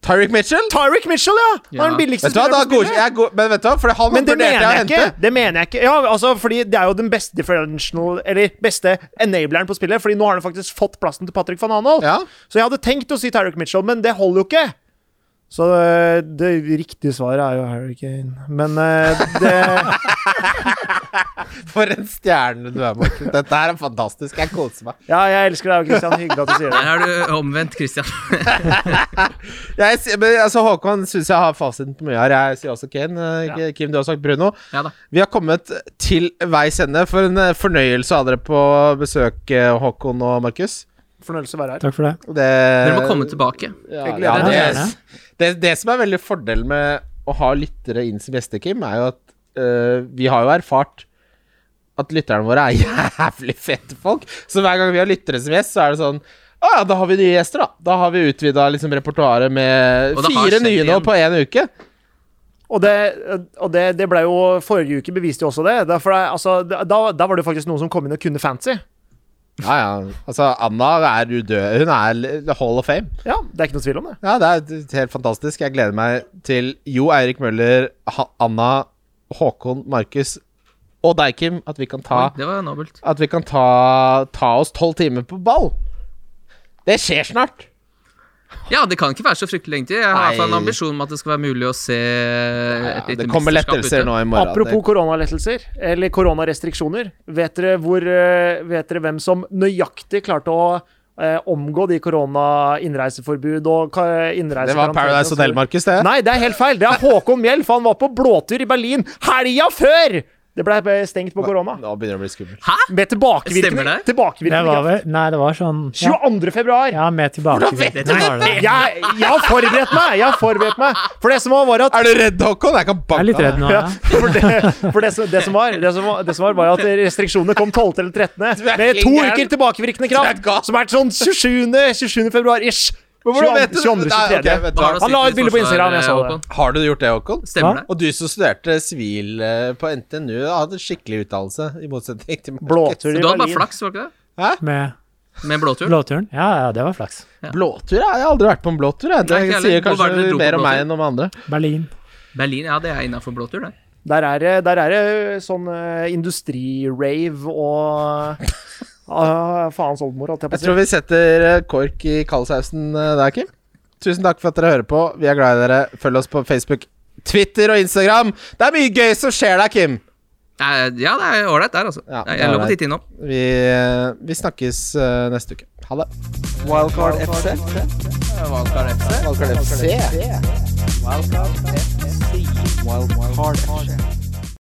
Tyrick Mitchell?
Tyrick Mitchell, ja! Han
Ja.
er den billigste
Vet du hva, da
spilleren på
godkj-
spillet.
jeg er god, Men vet du hva, for han
Men det
vurderte
mener
jeg å
jeg ikke.
hente.
Det mener jeg ikke. Ja, altså, fordi det er jo den beste differential Eller beste enableren på spillet, Fordi nå har han faktisk fått plassen til Patrick van Anholt.
Ja.
Så jeg hadde tenkt å si Tyrick Mitchell, men det holder jo ikke. Så eh, det riktige svaret er jo Harry Kane. Men eh, det
For en stjerne du er, Markus. Dette her er fantastisk. Jeg koser meg.
Ja, jeg elsker deg, Christian. Hyggelig at du sier
Der
det.
har du omvendt Christian.
Jeg, sier- men, altså, Håkon syns jeg har fasiten på mye her. Jeg sier også Kane. Eh, Kim, du har sagt Bruno.
Ja da.
Vi har kommet til veis ende. For en eh, fornøyelse å ha dere på besøk, eh, Håkon og Markus.
Fornøyelse å være her.
Takk for det.
Det,
Dere
Eh,
må komme tilbake.
Ja,
Jeg gleder
ja,
meg.
det, det, det som er veldig fordelen med å ha lyttere inn som gjester, Kim, er jo at eh, vi har jo erfart at lytterne våre er jævlig fete folk. Så hver gang vi har lyttere som gjest, så er det sånn Å ja, da har vi nye gjester, da. Da har vi utvida liksom, repertoaret med
Og det har
fire
skjedd
nye nå
igjen.
på én uke.
Og det, og det, det ble jo Forrige uke beviste jo også det. Da, for det altså, da, da var det jo faktisk noen som kom inn og kunne fancy.
Ja, ja. Altså, Anna er udød. Hun er l- Hall of Fame.
Ja, det er ikke noe tvil om det.
Ja, det er helt fantastisk. Jeg gleder meg til Jo Eirik Møller, ha Anna, Håkon, Markus og deg, Kim, at vi kan ta,
Oi, Det var nobelt.
at vi kan ta, ta oss tolv timer på ball. Det skjer snart.
Ja, det kan ikke være så fryktelig lenge til. Jeg har i
Nei.
hvert fall en ambisjon om at det skal være mulig å se et
det
lite
kommer
mesterskap
lettelser
ute.
nå i morgen.
Apropos koronalettelser, eller koronarestriksjoner. Vet dere, hvor, eh, vet dere hvem som nøyaktig klarte å eh, omgå de korona-innreiseforbud og ka-
det,
innreisekarantene?
det var Paradise Hotel, Markus, det.
sånn? Nei, det er helt feil. Det er Håkon Mjell, for han var på blåtur i Berlin helga før! Det ble stengt på korona.
Nå begynner det å bli skummelt.
Stemmer
Med tilbakevirkende,
det?
Det
tilbakevirkende
var
kraft.
vel Nei, det var sånn Ja,
22. februar.
ja med tilbakevirkende var det.
Jeg, jeg har forberedt meg! Jeg har forberedt meg. For det som var, var at
Er du redd, Håkon? Jeg kan
Jeg er
banke
litt redd nå, ja.
Ja, for det, for det, som, det, som var, det, som var, det som var, var at restriksjonene kom 12. eller 13.
er
med
klin
to
gæren.
uker tilbakevirkende
Du er gal.
kraft, som er sånn 27. 27. februar ish.
Hvordan vet du
22.
Nei, ok, vet
23.
du
Hva har
hva.
du å si
Han la
til
ut bilde på
forsvar,
Instagram, jeg så det.
Håkon?
Har du gjort det, Håkon?
Stemmer
Hva?
det?
Og du som studerte sivil eh, på NTNU, hadde skikkelig utdannelse, i motsetning til Markus.
Du
Blåtur i
hadde bare
Berlin.
flaks, var det ikke det?
Med
Med blåtur?
blåturen. Ja, ja, det var flaks.
Blåtur? ja. Jeg har aldri vært på en blåtur. Jeg. Det
Nei, ikke heller.
sier
Hvor var det
kanskje
dere dro
mer
på
om meg
blåtur?
enn om andre.
Berlin.
Berlin, ja, det er innafor blåtur, det.
Der er det, der er det sånn eh, industrirave og ah, Faens oldemor, holdt jeg på
Jeg
å si.
tror vi setter eh, kork i kaldsausen eh, der, Kim. Tusen takk for at dere hører på. Vi er glad i dere. Følg oss på Facebook, Twitter og Instagram. Det er mye gøy som skjer der, Kim.
Det er- Ja, det er ålreit der, altså.
Ja,
Jeg
det er
jeg lå på
ålreit.
titt innom.
Vi, eh, vi snakkes eh, neste uke. Ha det.
Wildcard FC.
Wildcard FC.
Wildcard FC.